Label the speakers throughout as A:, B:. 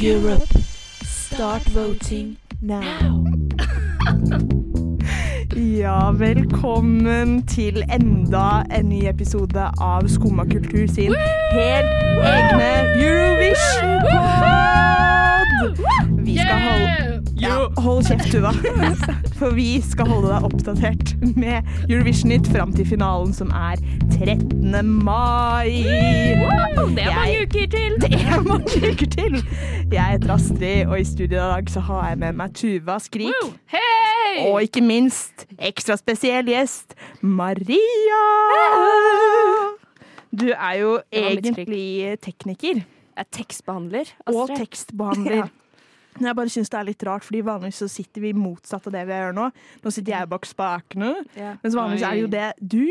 A: Europe, start voting now.
B: Ja, velkommen til enda en ny episode av Skumma kultur sin helt egne Eurovision-pod! Vi skal holde ja, Hold kjeft, Tuva. For vi skal holde deg oppdatert med Eurovision-nytt fram til finalen, som er 13. mai.
C: Det er mange
B: Jeg-
C: uker til.
B: Det er mange uker til! Jeg heter Astrid, og i studio i dag så har jeg med meg Tuva Skrik.
C: Wow. Hei!
B: Og ikke minst ekstra spesiell gjest, Maria! Du er jo
C: Det var mitt skrik.
B: egentlig tekniker
C: Jeg er tekstbehandler. altså.
B: og
C: Astrid.
B: tekstbehandler. Men jeg bare syns det er litt rart, fordi vanligvis så sitter vi motsatt av det vi gjør nå. Nå sitter jeg bak spakene,
C: Ja.
B: mens vanligvis er det jo det du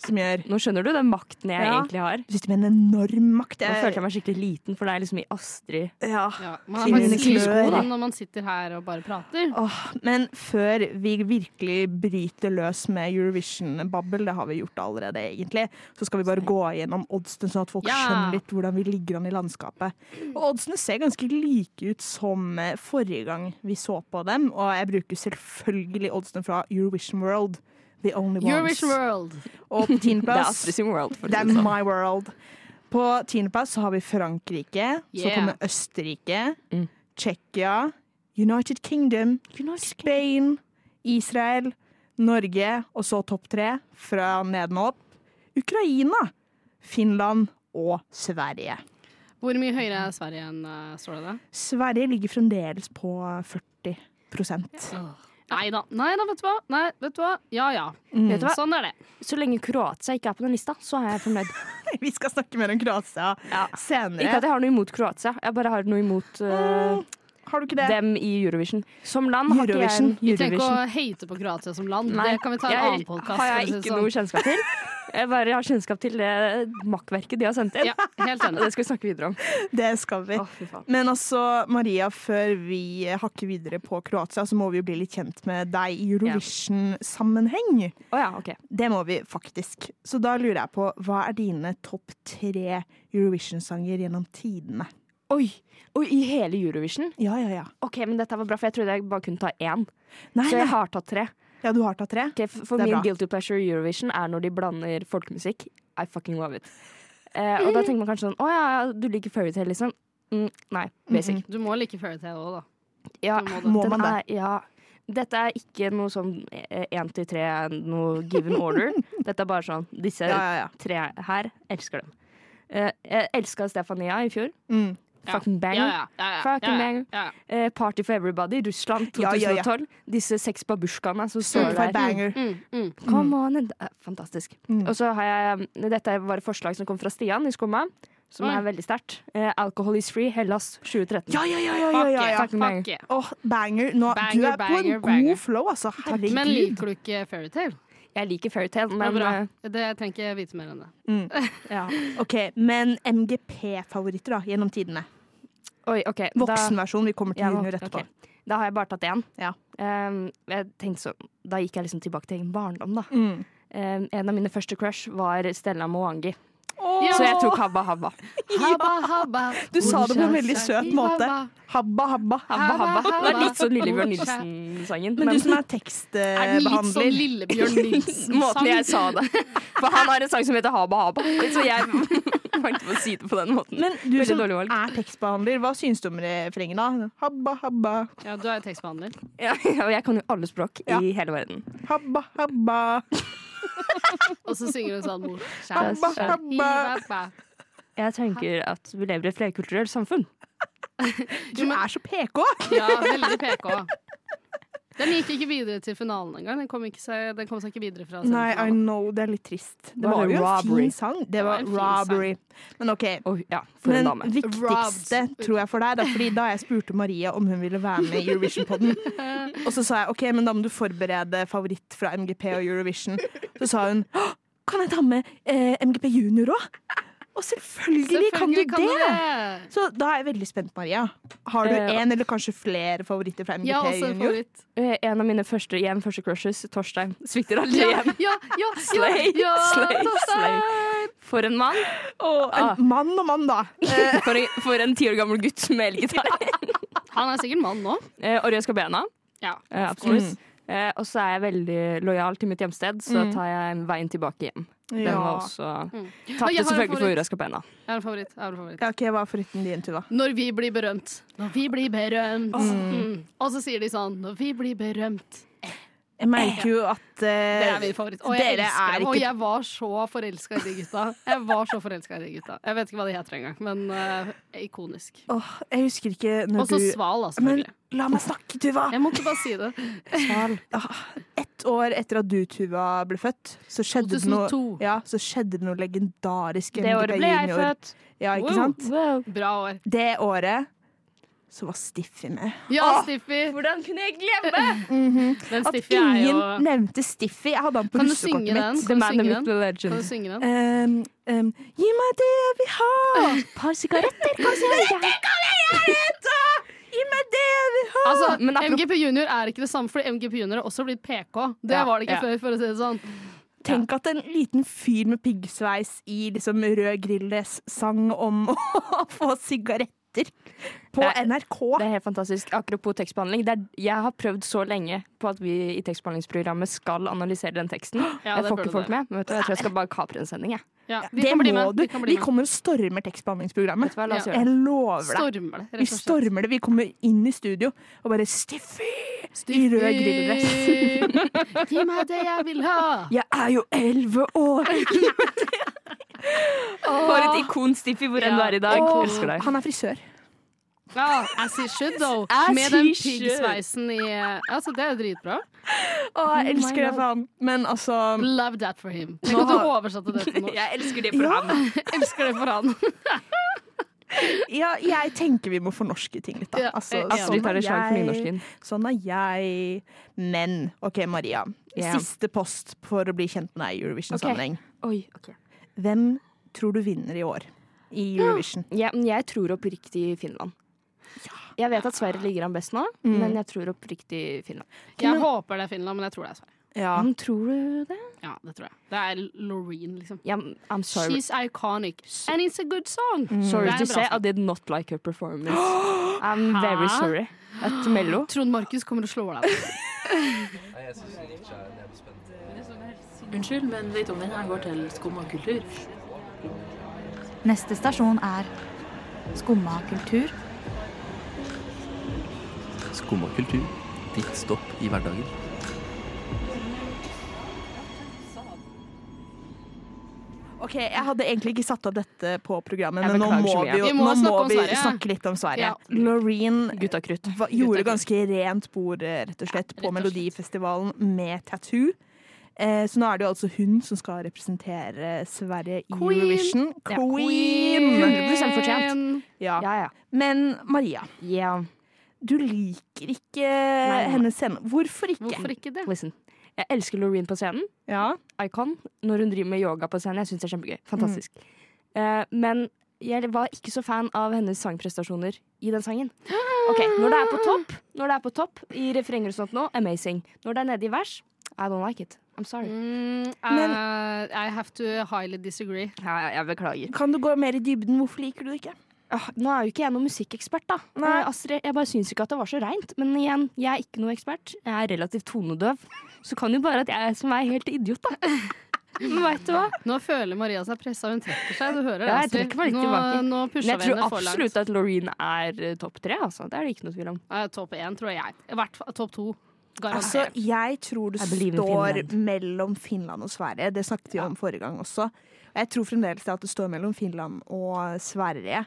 B: som gjør.
C: Nå skjønner du den makten jeg
B: Ja.
C: egentlig har.
B: Du sitter med en enorm makt.
C: Nå følte jeg meg skikkelig liten, for det er liksom i Astrid.
B: ja.
D: Ja, man har
B: Sine
D: faktisk mye
B: klør.
D: sko da, når man sitter her og bare prater.
B: Åh, men før vi virkelig bryter løs med Eurovision-babbel, det har vi gjort allerede egentlig, så skal vi bare gå gjennom oddsene, sånn at folk
D: Ja.
B: skjønner litt hvordan vi ligger an i landskapet. Og oddsene ser ganske like ut som eh, forrige gang vi så på dem, og jeg bruker selvfølgelig oddsene fra Eurovision World. The only ones.
D: Eurovision World.
B: Og på
C: Det er
B: tiendeplass
C: Astrid sin world, for å
B: det
C: si
B: er
C: det sånn.
B: my world. På tiendeplass så har vi Frankrike. Så
D: Yeah.
B: kommer Østerrike,
C: Mm.
B: Tsjekkia, United Kingdom, Spain, Israel, Norge og så topp tre fra neden og opp. Ukraina, Finland og Sverige.
D: Hvor mye høyere er Sverige enn eh, står det der?
B: Sverige ligger fremdeles på 40
D: Nei da. Nei da, vet du hva. Nei, vet du hva. Ja ja.
C: Vet du hva?
D: Sånn er det.
C: Så lenge Kroatia ikke er på den lista, så er jeg fornøyd.
B: Vi skal snakke mer om Kroatia
C: Ja. Ikke at
B: senere.
C: jeg har noe imot Kroatia, jeg bare har noe imot eh,
B: Har du ikke det?
C: dem i Eurovision. Som land har ikke jeg
B: Eurovision.
C: en
D: Vi trenger ikke
C: Eurovision.
D: å hate på Kroatia som land.
C: Nei,
D: Det kan vi ta i en annen podkast.
C: har jeg ikke
D: sånn.
C: noe kjennskap til. Jeg bare har kjennskap til det makkverket de har sendt inn.
D: Ja,
C: Og
D: helt enig.
C: det skal vi snakke videre om.
B: Det skal vi.
C: Å, fy faen.
B: Men altså, Maria, før vi hakker videre på Kroatia, så må vi jo bli litt kjent med deg i Eurovision-sammenheng.
C: Å ja, ok.
B: Det må vi faktisk. Så da lurer jeg på, hva er dine topp tre Eurovision-sanger gjennom tidene?
C: Oi, oi, i hele Eurovision?
B: Ja, ja, ja.
C: Ok, men dette var bra, for jeg trodde jeg bare kunne ta én.
B: Nei,
C: Så jeg
B: nei.
C: har tatt tre.
B: Ja, du har tatt tre?
C: Ok, for for
B: Det er
C: min
B: bra.
C: guilty pleasure i Eurovision er når de blander folkemusikk. I fucking love it. Eh, og da tenker man kanskje sånn Å ja, ja, du liker fairytale, liksom? Mm, nei, basic.
D: Du må like fairytale òg, da.
C: Ja,
D: Du må det.
B: Mhm. Må
C: den
B: man det?
C: er, ja. Dette er ikke noe sånn eh, én til tre, noe given order. Dette er bare sånn Disse
B: Ja, ja, ja.
C: tre her elsker dem. Eh, jeg elska Stefania i fjor.
B: Mm.
D: Ja.
C: Fucking bang.
D: Ja, ja, ja, ja,
C: Fucking
D: ja,
C: bang.
D: Ja, ja.
C: Eh, Party for Everybody, Russland
B: Ja, ja, ja.
C: 2012. Disse seks babusjkaene som står
B: Certified
C: der.
B: banger.
D: Mm, mm.
C: Come on and, eh, Fantastisk.
B: Mm.
C: Og så har jeg mm, Dette var et forslag som kom fra Stian i Skumma, som
B: Mm.
D: Oi.
C: er veldig sterkt. Eh, Alcohol is free, Hellas 2013.
B: Ja, ja, ja, ja, ja,
D: Fuck
B: ja,
D: yeah.
B: ja.
C: Fuck. Banger.
D: Fuck yeah.
B: Åh, banger. Nå, du
D: Banger,
B: er på en
D: banger,
B: god
D: banger.
B: flow, altså. Herregud.
D: Men liker du ikke fairytale?
C: Jeg liker Fairytale,
D: Det er
C: men
D: bra.
C: eh,
D: Det jeg trenger ikke vite mer enn det.
C: ja.
B: Mm. Ok, men MGP-favoritter da, gjennom tidene.
C: Oi, OK. da-
B: Voksenversjon, vi kommer til
C: Ja,
B: junior etterpå.
C: ok. Da har jeg bare tatt én.
B: Ja.
C: Eh, jeg tenkte sånn, da gikk jeg liksom tilbake til egen barndom, da.
B: Mm.
C: Eh, en av mine første crush var Stella Moangi,
B: Åh!
C: så jeg tok Habba Habba.
D: Habba, habba.
B: Du sa det på en veldig
D: Orsa,
B: søt måte.
D: habba.
B: Habba, habba.
C: Habba Habba. Det er litt sånn Lillebjørn
D: Orsa.
C: Nilsen-sangen.
B: Men
C: men-
B: du som er
D: Er den litt sånn
B: tekstbehandler
D: Lillebjørn
C: eh, Måten jeg
D: Nilsen-sang?
C: sa det. For han har en sang som heter Haba Haba. Så jeg valgte å si det på den måten.
B: Men du
C: Veldig
B: som
C: dårlig valg.
B: er tekstbehandler, hva syns du om refrenget da? Habba, habba,
D: Ja, du er jo tekstbehandler.
C: Ja, og jeg kan jo alle språk
B: Ja.
C: i hele verden.
B: habba, habba.
D: Og så synger hun sånn mor.
C: Habba,
B: habba.
C: Jeg tenker at vi lever i et flerkulturelt samfunn.
B: Du er så PK!
D: Ja, veldig PK. Den gikk ikke videre til finalen engang. Den kom, ikke seg, den kom seg ikke videre fra
B: Nei, I
D: semifinalen.
B: know, det er litt trist. Det
C: Var
B: var
C: det
B: jo en
C: robbery?
B: fin sang. Det var
D: en fin sang.
B: robbery. Men OK.
C: Og ja, for
B: Men
C: en dame.
B: viktigste
D: Robbed.
B: tror jeg for deg, da, fordi da jeg spurte Maria om hun ville være med i Eurovision-podden, og så sa jeg OK, men da må du forberede favoritt fra MGP og Eurovision, så sa hun «Hå, kan jeg ta med eh, MGP junior òg? Og Og selvfølgelig, kan du det! Så da er jeg veldig spent, Maria. Har du
C: Eh,
B: én eller kanskje flere favoritter fra MGP
D: Jeg har også en
B: junior?
D: altså, favoritt.
C: Eh, En av mine første, igjen første crushes, Torstein, svikter aldri
D: Ja,
C: igjen.
D: ja, ja,
C: Slay,
D: ja,
C: slay,
D: Torstein.
C: slay. For en mann.
B: Og
C: Ah.
B: en mann og mann, da.
C: For, for en ti år gammel gutt med elgitar.
D: Han er sikkert mann nå.
C: Eh, Orion Scabena.
D: Ja.
C: Eh,
B: Mm.
C: absolutt. Eh, og så er jeg veldig lojal til mitt hjemsted, så tar jeg veien tilbake hjem. Den var
B: Ja.
C: også
D: Mm. Og jeg
C: Tapte
D: har
C: selvfølgelig
D: en
C: for
D: favoritt.
C: Orion Scabena.
D: Jeg har en favoritt. Jeg har en favoritt.
B: Ja, ok, Hva er favoritten din til, da?
D: Når vi blir berømt. Når vi blir berømt. Mm. Og så sier de sånn Når vi blir berømt.
B: Jeg merker jo at
D: Det
B: eh,
D: er min favoritt. Og jeg
B: dere
D: elsker
B: er
D: dem.
B: ikke-
D: Og jeg var så forelska i de gutta. Jeg var så forelska i de gutta. Jeg vet ikke hva de heter engang, men eh, ikonisk.
B: åh, Jeg husker ikke når
D: Og så
B: du
D: Sval, da,
B: Men
D: selvfølgelig.
B: la meg snakke, Tuva!
D: Jeg måtte bare si det.
B: Ah, Ett år etter at du, Tuva, ble født, så skjedde det noe
D: 2002.
B: ja, så skjedde det noe legendarisk. i
C: Det
B: MGP
C: året ble jeg
B: junior.
C: født.
B: Ja, ikke
D: Wow.
B: sant?
D: Bra år.
B: Det året så var Stiffy med.
D: Ja,
B: Åh,
D: Stiffy.
C: Hvordan kunne jeg glemme?
D: Men
B: At
D: Stiffy er jo
B: ingen nevnte Stiffy! Jeg hadde han på
D: Kan du synge
B: russekortet
D: den?
B: mitt.
C: The
D: Kan du
C: man, the
D: synge
C: myth, the
D: Kan du
C: legend.
D: synge den?
B: Um, um, gi meg det jeg vil ha!
C: Par sigaretter, kanskje?
B: Gi meg det jeg vil ha!
D: Altså,
C: men apropos-
D: MGP junior er ikke det samme, fordi MGP junior har også blitt PK. Det
C: Ja,
D: var det ikke
C: ja.
D: før, for å si det sånn.
B: Tenk at en liten fyr med piggsveis i liksom rød grilldress sang om å få sigaretter på
C: Det er-
B: NRK.
C: Det er helt fantastisk. Apropos tekstbehandling. Det er, jeg har prøvd så lenge på at vi i tekstbehandlingsprogrammet skal analysere den teksten.
D: Ja,
C: jeg
D: det
C: får
D: burde
C: ikke folk
D: du.
C: med. men Vet du, jeg tror jeg skal bare kapre en sending. Jeg.
D: Ja, de
B: det
D: kan bli
B: må
D: med.
B: du.
D: De kan bli
B: Vi
D: med.
B: kommer og stormer
C: Vet
B: tekstbehandlingsprogrammet.
C: du hva? La oss
D: Ja.
C: gjøre det.
B: Jeg lover deg.
D: Stormer det,
B: Vi stormer det. Vi kommer inn i studio og bare Stiffy! I rød grilldress.
D: Stiffy, Gi meg det jeg vil ha!
B: Jeg er jo elleve år!
C: For et ikon, Stiffy, hvor enn du
D: Ja.
C: er i dag.
B: Åh,
C: Elsker deg.
B: han er frisør.
D: Ja, as he should, though.
C: As
D: Med
C: he
D: den
C: should.
D: piggsveisen i Altså, det er jo dritbra.
B: Å, jeg elsker det for han. Men altså
D: Love that for him. Tenk at du oversatte det til noe.
C: Jeg elsker det
B: for
C: ham.
D: Jeg elsker det for han.
B: ja, Jeg tenker vi må fornorske ting litt, da.
D: Ja,
B: Altså,
D: jeg-
C: Astrid tar et slag for nynorsken.
B: Sånn er jeg. Men OK, Maria.
C: Ja.
B: Siste post for å bli kjent med deg i Eurovision-sammenheng.
C: Oi, ok.
B: Hvem tror du vinner i år i Eurovision?
C: Ja, men jeg tror oppriktig Finland. Jeg vet at Sverige ligger an best nå, men jeg tror oppriktig Finland.
D: Jeg håper det er Finland, men jeg tror det er Sverige.
B: Ja.
C: Men tror du det?
D: Ja, det tror jeg. Det er Loreen, liksom.
C: Ja, I'm sorry. Mm.
D: She's iconic. And it's a good song.
C: Sorry
D: Det er
C: to
D: en bra
C: say, I
D: sang.
C: did not like her performance. I'm very
D: Hæ?
C: sorry. At Mello
D: Trond Markus kommer og slår deg.
E: Unnskyld, men vet du om denne går til skum og kultur?
F: Neste stasjon er Skumma kultur.
G: Skumma kultur. Ditt stopp i hverdagen.
B: OK, jeg hadde egentlig ikke satt opp dette på programmet,
C: Jeg
B: men nå
C: beklager
B: må
C: så mye.
B: vi, jo,
D: Vi må
B: nå må
D: snakke om
B: vi
D: Sverige.
B: snakke litt om Sverige.
D: Ja.
B: Loreen
C: Gutta krutt.
B: va- gjorde ganske rent bord, eh, rett og slett, på
D: rett og slett.
B: Melodifestivalen med Tattoo. Eh, så nå er det jo altså hun som skal representere Sverige i
D: Queen.
B: Eurovision.
C: Ja.
B: Queen!
C: 100% fortjent.
B: Ja.
C: Ja, ja.
B: Men Maria,
C: Yeah.
B: du liker ikke
C: nei.
B: hennes scene. Hvorfor ikke?
D: Hvorfor ikke det?
C: Listen. Jeg elsker Loreen på scenen.
B: Ja.
C: Icon. Når hun driver med yoga på scenen. Jeg syns det er kjempegøy. Fantastisk. Eh, men jeg var ikke så fan av hennes sangprestasjoner i den sangen. Ok, Når det er på topp, når det er på topp i refrenger og sånt nå, amazing. Når det er nede i vers, I don't like it. I'm sorry.
D: Mm,
B: Men-
D: uh, I have to highly disagree.
C: Ja, ja, jeg beklager.
B: Kan du gå mer i dybden? Hvorfor liker du det ikke?
C: Åh, Ah, Nå er jo ikke jeg noen musikkekspert, da.
B: Nei.
C: Eh, Astrid, jeg bare syns ikke at det var så reint. Men igjen, jeg er ikke noen ekspert. Jeg er relativt tonedøv. Så kan jo bare at jeg er som er helt idiot, da. Men veit du hva?
D: Nå føler Maria seg pressa. Hun trekker seg. Du hører det.
C: Ja, jeg
D: Astrid.
C: trekker meg litt
D: nå,
C: tilbake.
D: nå
C: Men
D: pusha
C: jeg
D: vi
C: tror
D: henne for langt.
C: absolutt at Loreen er eh, topp tre, altså. Det er det ikke noe tvil om.
D: Eh, topp én, tror jeg. I hvert fall topp to.
B: Altså,
D: Garantert.
B: jeg tror det
C: I believe in
B: står
C: Finland.
B: mellom Finland og Sverige. Det snakket vi om forrige gang også. Og Jeg tror fremdeles det at det står mellom Finland og Sverige.
D: Mm.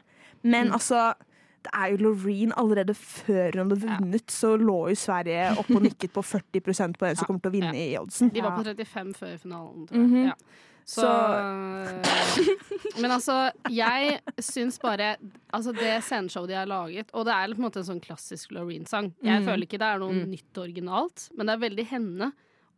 B: Men altså det er jo Loreen allerede før hun hadde vunnet, så lå jo Sverige oppe og nikket på 40 på hvem som kommer til å vinne i oddsen.
D: De var på 35 før finalen, tror jeg.
B: Mhm.
D: ja. Så, Men altså, jeg syns bare Altså, det sceneshowet de har laget, og det er på en
B: Mhm. Mm.
D: måte en sånn klassisk Loreen-sang Jeg føler ikke det er noe nytt og originalt, men det er veldig henne.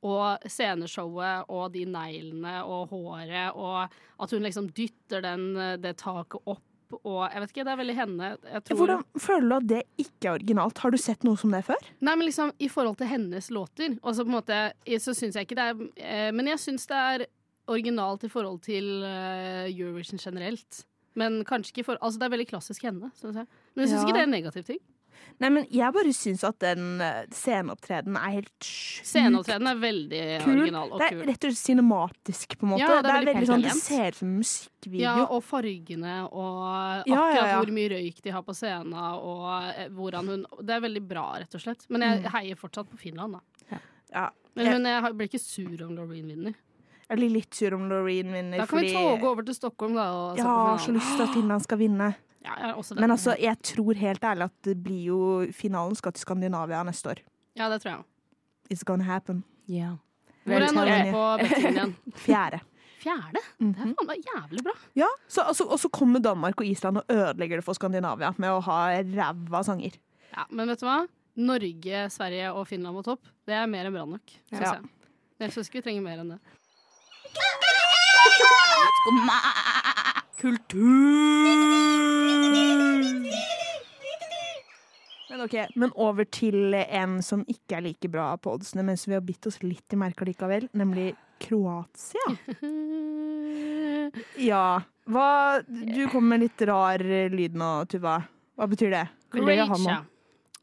D: og sceneshowet og de neglene og håret og at hun liksom dytter den, eh, det taket opp og Jeg vet ikke, det er veldig henne. Jeg tror,
B: Hvordan føler du at det ikke er originalt? Har du sett noe som det før?
D: Nei, men liksom i forhold til hennes låter. Og så på en måte eh, Så syns jeg ikke det er eh, Men jeg syns det er originalt i forhold til eh, Eurovision generelt. Men kanskje ikke for Altså, det er veldig klassisk henne, syns jeg. Men jeg syns
B: Ja.
D: ikke det er en negativ ting.
B: Nei, men jeg bare syns at den eh, sceneopptredenen er helt sjukt
D: Sceneopptredenen er veldig original og
B: det
D: kul.
B: er rett og slett cinematisk, på en måte.
D: Ja,
B: det, er veldig sånn, det
D: pent.
B: ser ut som en musikkvideo.
D: Ja, og fargene, og akkurat
B: Ja, ja, ja.
D: hvor mye røyk de har på scenen, og eh, hvordan hun Det er veldig bra, rett og slett. Men jeg heier fortsatt på Finland, da.
B: Mm. Ja.
D: Men, men jeg har- blir ikke sur om Loreen vinner.
B: Jeg blir litt sur om Loreen vinner,
D: Da kan vi toge over til Stockholm, da, og
B: jeg
D: se
B: har
D: på
B: så
D: finalen.
B: lyst til at Finland skal vinne.
D: Ja, jeg er også det.
B: Men altså, jeg tror helt ærlig at det blir jo finalen skal til Skandinavia neste år.
D: Ja, det tror jeg òg.
B: It's gonna happen.
D: Hvor er Norge på bettinglinjen?
B: Fjerde.
D: Fjerde? Det
B: Mhm.
D: er faen meg jævlig bra.
B: Ja, så, altså, Og så kommer Danmark og Island og ødelegger det for Skandinavia med å ha ræva sanger.
D: Ja, men vet du hva? Norge, Sverige og Finland på topp, det er mer enn bra nok. Synes
B: Ja.
D: jeg. Jeg syns ikke vi trenger mer enn det.
F: Skumma
B: Men ok, men over til en som ikke er like bra på oddsene, men som vi har bitt oss litt i merka likevel, nemlig Kroatia. Ja. Hva, du kom med litt rar lyd nå, Tuva. Hva betyr det? Vil dere ha noe?
D: Croatia.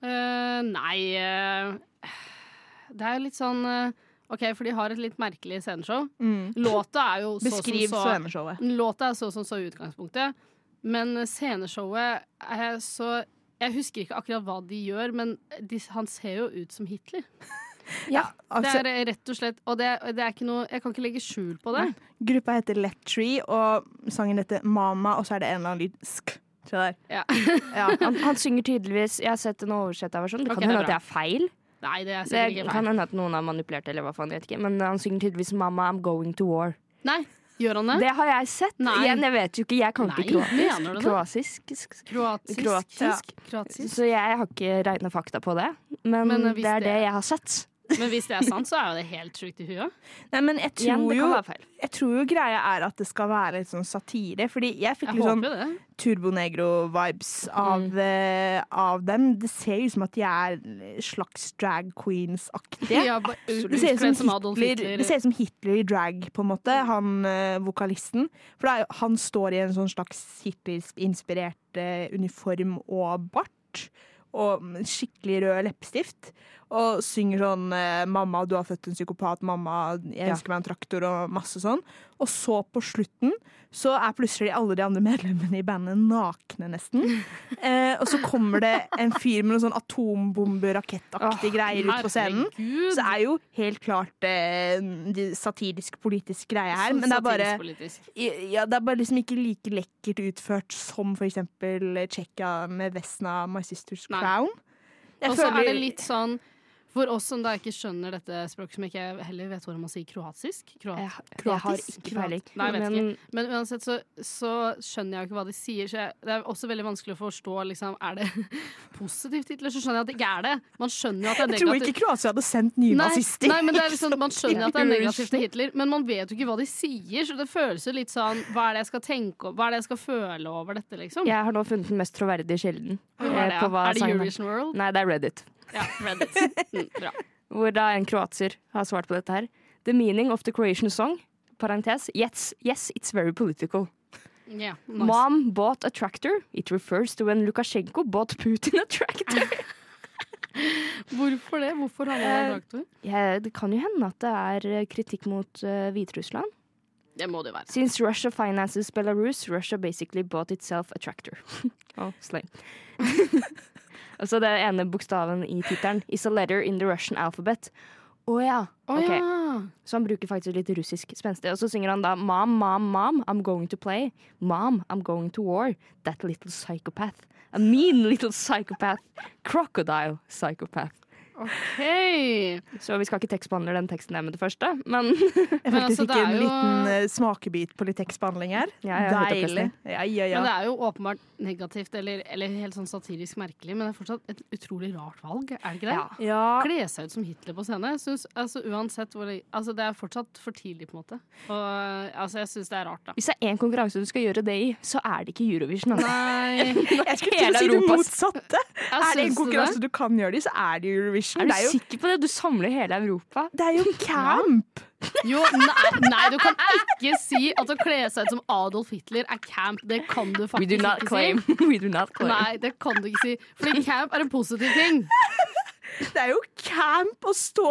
D: Eh, nei eh, Det er litt sånn eh, OK, for de har et litt merkelig sceneshow.
B: Mm.
D: Låta er jo så
B: Beskriv
D: som så.
B: sceneshowet.
D: Låta er så som så i utgangspunktet, men sceneshowet er så Jeg husker ikke akkurat hva de gjør, men de, han ser jo ut som Hitler.
B: Altså,
D: det er rett og slett Og det, det er ikke noe Jeg kan ikke legge skjul på det.
B: Gruppa heter Let Tree, og sangen heter Mama, og så er det en eller annen lyd sk. tror jeg det
D: Ja.
B: er. Ja.
C: Han, han synger tydeligvis Jeg har sett en oversett av versjonen. Det
D: Ok,
C: kan
D: det er
C: hende at
D: bra.
C: det er feil.
D: Nei, det er
C: Det
D: sikkert ikke
C: kan
D: feil.
C: hende at noen har manipulert det, eller hva faen, jeg vet ikke. Men han synger tydeligvis 'Mamma, I'm going to war'.
D: Nei, gjør han det?
C: Det har jeg sett.
D: Nei.
C: Igjen, jeg vet jo ikke. Jeg kan
D: Nei,
C: ikke kroatisk.
D: mener du det?
C: kroatisk.
D: Kroatisk.
C: Kroatisk.
D: Ja. Kroatisk.
C: Så jeg har ikke regna fakta på det. Men,
D: Men, eh, hvis
C: det er
D: det-
C: det jeg har sett.
D: Men hvis det er sant, så er jo det helt sjukt i huet.
B: Nei, men jeg tror,
C: Igjen, det
B: jo,
C: kan være feil.
B: jeg tror jo greia er at det skal være litt sånn satire, fordi jeg fikk
D: Jeg
B: litt sånn
D: håper jo det. Mm.
B: turbonegro-vibes av, eh, av dem. Det ser jo ut som at de er slags drag queens-aktige.
D: Ja, ba-
B: Det ser,
D: kledd
B: ut som Hitler, det ser ut som Hitler i drag, på en måte, han eh, vokalisten. For det er, jo- han står i en sånn slags Hitler-inspirert eh, uniform og bart. Og mm, skikkelig rød leppestift. Og synger sånn eh, 'Mamma, du har født en psykopat', 'Mamma, jeg ønsker meg en traktor', og masse sånn. Og så på slutten så er plutselig alle de andre medlemmene i bandet nakne, nesten. Eh, og så kommer det en fyr med noen sånn atombomberakettaktige greier ut på scenen.
D: Herregud.
B: Så det er jo helt klart eh, de satirisk politisk greie her,
D: Så
B: men det er bare
D: satirisk-politisk.
B: ja, det er bare liksom ikke like lekkert utført som for eksempel Tsjekkia med Vesna, My Sister's
D: Nei.
B: Crown. Jeg
D: Og så
B: føler-
D: er det litt sånn for oss som da ikke skjønner dette språket, som ikke heller vet hvordan man sier kroatisk Kroat
C: Jeg, jeg har ikke peiling.
D: Kroat- Nei, jeg vet
C: Men
D: Men uansett så, så skjønner jeg jo ikke hva de sier. Så jeg, det er også veldig vanskelig å forstå liksom, Er det positivt Hitler, så skjønner jeg at det ikke er det. Man skjønner jo at det er
B: Jeg tror
D: negativt.
B: ikke Kroatia hadde sendt
D: Nei,
B: nynazister.
D: nei, men det er liksom, Man skjønner at det er negativt til Hitler, men man vet jo ikke hva de sier. Så det føles jo litt sånn Hva er det jeg skal tenke om? Hva er det jeg skal føle over dette, liksom?
C: jeg har nå funnet den mest troverdige kilden.
D: Hva er, det,
C: eh, på
D: ja?
C: hva
D: er det
C: sangen er.
D: Eurovision World?
C: Nei, det er Reddit.
D: Ja, Reddit. Mm, bra.
C: Hvor da en kroatier har svart på dette her. The meaning of the Croatian song, parentes, yes, yes, it's very political.
D: Yeah, nice.
C: Mom bought a tractor. It refers to when Lukasjenko bought Putin a tractor.
D: Hvorfor det? Hvorfor har man en traktor?
C: Ja, det kan jo hende at det er eh, kritikk mot eh, Hviterussland.
D: Det må det jo være.
C: Since Russia finances Belarus, Russia basically bought itself a tractor. oh, slay. Og så det ene bokstaven i tittelen is a letter in the Russian alphabet. Å ja.
D: Å
C: ok.
D: ja.
C: Så han bruker faktisk litt russisk spenstig. Og så synger han da Mom, mom, mom, I'm going to play. Mom, I'm going to war. That little psychopath. A mean little psychopath. Crocodile psychopath.
D: OK.
C: Så vi skal ikke tekstbehandle den teksten der med det første, men
B: Jeg
D: Men
B: faktisk
D: altså,
B: fikk
D: det
B: en
D: er jo-
B: liten eh, smakebit på litt tekstbehandling her.
C: Ja, ja,
B: Deilig.
C: høytopplesning.
B: Ja, ja, ja.
D: Men det er jo åpenbart negativt, eller, eller helt sånn satirisk merkelig, men det er fortsatt et utrolig rart valg, er det ikke det?
C: Ja.
B: Ja,
D: Kle seg ut som Hitler på scene. jeg Synes, altså, uansett hvor det, altså, det er fortsatt for tidlig, på en måte. Og, altså, jeg syns det er rart, da.
C: Hvis det er én konkurranse du skal gjøre det i, så er det ikke Eurovision. Altså.
D: Nei,
B: jeg skulle til
C: hele
B: å si det
C: Europas-
B: motsatte.
D: jeg
B: Er det en
D: syns det.
B: konkurranse du kan gjøre det i, så er det Eurovision.
C: Er du
B: Det er jo,
C: sikker på det? Du samler hele Europa.
B: det er jo camp!
D: Jo, nei, nei, du kan ikke si at å kle seg ut som Adolf Hitler er camp. Det kan du
C: We
D: faktisk
C: do not
D: ikke
C: claim.
D: si.
C: We do not claim.
D: Nei, det kan du ikke si. Fordi camp er en positiv ting.
B: Det er jo camp å stå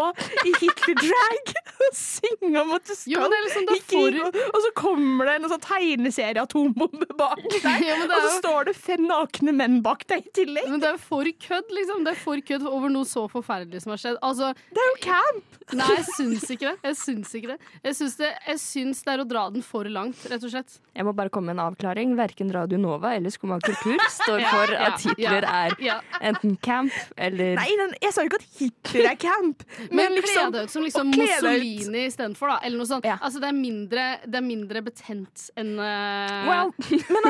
B: i Hitler-drag og synge om at du skal
D: Jo, men det er liksom det
B: i krig, og, og så kommer det en sånn tegneserie-atombombe bak deg,
D: Ja, men det
B: og
D: er
B: så
D: jo-
B: står det fem nakne menn bak deg i tillegg.
D: Men det er for kødd, liksom. Det er for kødd over noe så forferdelig som har skjedd. Altså,
B: Det er jo camp!
D: Nei, jeg syns ikke det. Jeg syns ikke det. Jeg syns det, jeg syns det er å dra den for langt, rett og slett.
C: Jeg må bare komme med en avklaring. Verken Radio Nova eller Skumma kultur står
D: Ja,
C: for
D: ja,
C: at Hitler
D: ja,
C: er
D: ja.
C: enten camp eller
B: Nei, nei, jeg sa jo ikke at Hitler er camp,
D: Men kle deg ut som liksom
B: å kle deg ut-
D: Mussolini istedenfor, da. Eller noe sånt.
C: Ja.
D: Altså, det er mindre, det er mindre betent enn eh,
C: Well,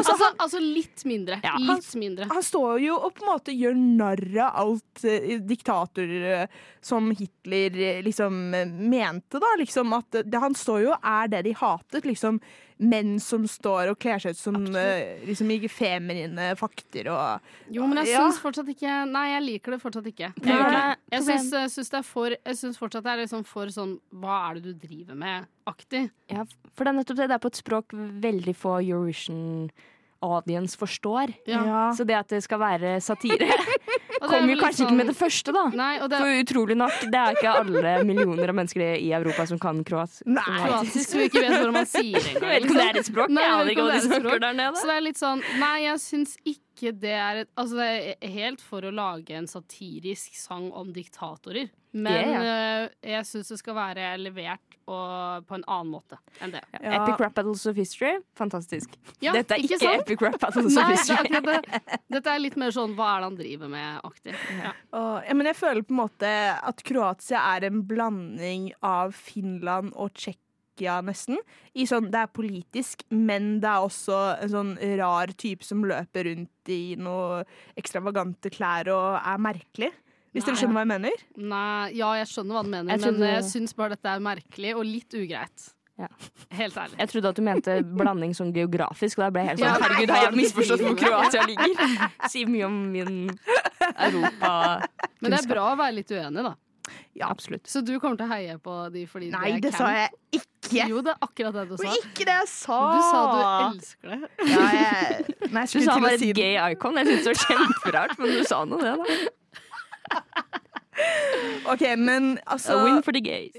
D: altså, altså, litt mindre.
C: Ja.
D: Litt mindre.
B: Han står jo og på en måte gjør narr av alt eh, diktator eh, som Hitler eh, liksom eh, mente, da. Liksom at eh, det, han står jo og er det de hatet, liksom. Menn som står og kler seg ut som eh, liksom i feminine fakter og
D: Jo, men jeg
B: Ja.
D: syns fortsatt ikke Nei, jeg liker det fortsatt ikke. Jeg,
C: Nei,
D: gjør det.
C: nei,
D: jeg
C: problem.
D: syns, jeg syns det er for Jeg syns fortsatt det er liksom for sånn Hva er det du driver med-aktig.
C: ja, For det er nettopp det. Det er på et språk veldig få Eurovision audience forstår.
D: Ja.
C: Så det at det skal være satire,
D: Og det
C: kommer
D: er
C: jo
D: vel litt
C: kanskje ikke
D: sånn-
C: med det første, da.
D: Nei, og det er
C: For utrolig nok, det er ikke alle millioner av mennesker i Europa som kan kroat.
B: Nei.
C: som har-
D: kroatisk, som vi ikke vet hvordan man sier det engang. liksom.
C: Jeg vet ikke om det er et språk.
D: Nei,
C: jeg
D: jeg
C: aner
D: vet
C: ikke hva de
D: ikke om det er et
C: snakker
D: språk.
C: der nede.
D: Så det er litt sånn Nei, jeg syns ikke det er et Altså, det er helt for å lage en satirisk sang om diktatorer. Men
C: Ja,
D: øh, jeg syns det skal være levert og, på en annen måte enn det.
C: Ja. Epic Rap Battles of History, fantastisk.
D: Ja,
C: Dette er ikke,
D: sant?
C: Epic Rap Battles of
D: Nei, det er
C: History.
D: akkurat det. Dette er litt mer sånn hva er det han driver med-aktig. Ja.
B: og, ja, Men jeg føler på en måte at Kroatia er en blanding av Finland og Tsjekkia, nesten. I sånn, det er politisk, men det er også en sånn rar type som løper rundt i noe ekstravagante klær og er merkelig. Hvis
D: Nei.
B: dere skjønner hva jeg mener?
D: Nei, ja, jeg skjønner hva han mener,
C: Jeg
D: men eh,
C: trodde-
D: jeg syns bare dette er merkelig og litt ugreit.
C: Ja.
D: Helt ærlig.
C: Jeg trodde at du mente blanding sånn geografisk, og da ble jeg helt
D: Ja,
C: sånn
D: nei,
C: Herregud, har jeg misforstått hvor Kroatia ligger? Si mye om min Europa
D: Men det er bra å være litt uenig, da.
B: Ja.
C: Absolutt.
D: Så du kommer til å heie på de fordi
B: Nei,
D: de er
B: det sa
D: camp?
B: jeg ikke!
D: Jo, det er akkurat det du
B: Det
D: sa.
B: var ikke det jeg sa!
D: Du sa du elsker det.
B: ja, jeg, nei, jeg
C: Du
B: skulle til
C: sa
B: å
C: bare et
B: si det.
C: gay icon. Jeg syns det var kjemperart, men du sa nå det, da.
B: OK, men altså
C: A win for the gays.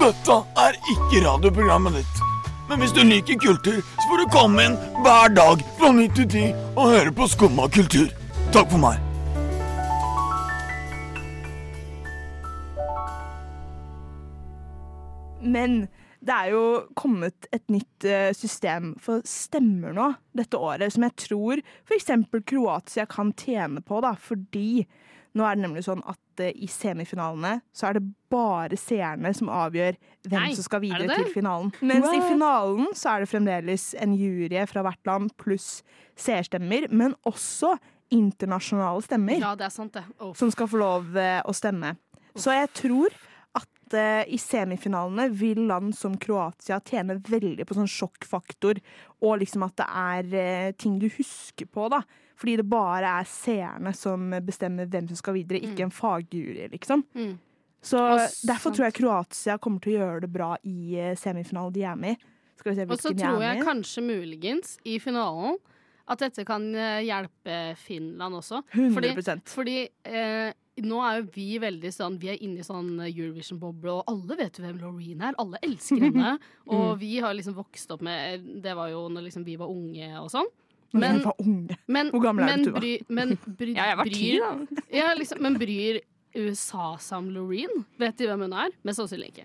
H: Dette er ikke radioprogrammet ditt. Men hvis du liker kultur, så får du komme inn hver dag fra 9 til 10 og høre på Skumma kultur. Takk for meg.
B: Men det er jo kommet et nytt eh, system for stemmer nå dette året, som jeg tror f.eks. Kroatia kan tjene på, da, fordi nå er det nemlig sånn at eh, i semifinalene så er det bare seerne som avgjør hvem
D: Nei,
B: som skal
D: er
B: videre
D: det det?
B: til finalen. Mens i finalen så er det fremdeles en jury fra hvert land pluss seerstemmer, men også internasjonale stemmer
D: Ja, det er sant, det. Oh,
B: som skal få lov eh, å stemme. Så jeg tror at eh, i semifinalene vil land som Kroatia tjene veldig på sånn sjokkfaktor, og liksom at det er eh, ting du husker på, da. Fordi det bare er seerne som bestemmer hvem som skal videre, ikke en fagjury, liksom.
D: Mm.
B: Så
D: Og
B: derfor
D: sant.
B: tror jeg Kroatia kommer til å gjøre det bra i eh, semifinalen de er med i. Skal vi se
D: Og så
B: hvilken de
D: tror
B: er med
D: jeg
B: i.
D: kanskje muligens i finalen at dette kan eh, hjelpe Finland også. Fordi,
B: 100
D: fordi eh, nå er jo vi veldig sånn Vi er inne i sånn Eurovision-boble, og alle vet jo hvem Loreen er. Alle elsker
B: Mm.
D: henne. Og vi har liksom vokst opp med Det var jo når liksom vi var unge og sånn.
B: Når
D: Men,
B: jeg var unge.
D: men,
B: Hvor gammel er
D: men
B: du, Tuva?
D: bry- Men bry,
C: Ja, jeg var ti,
D: bryr-
C: da.
D: Ja, liksom, men bryr USA seg om Loreen? Vet de hvem hun er? Mest sannsynlig ikke.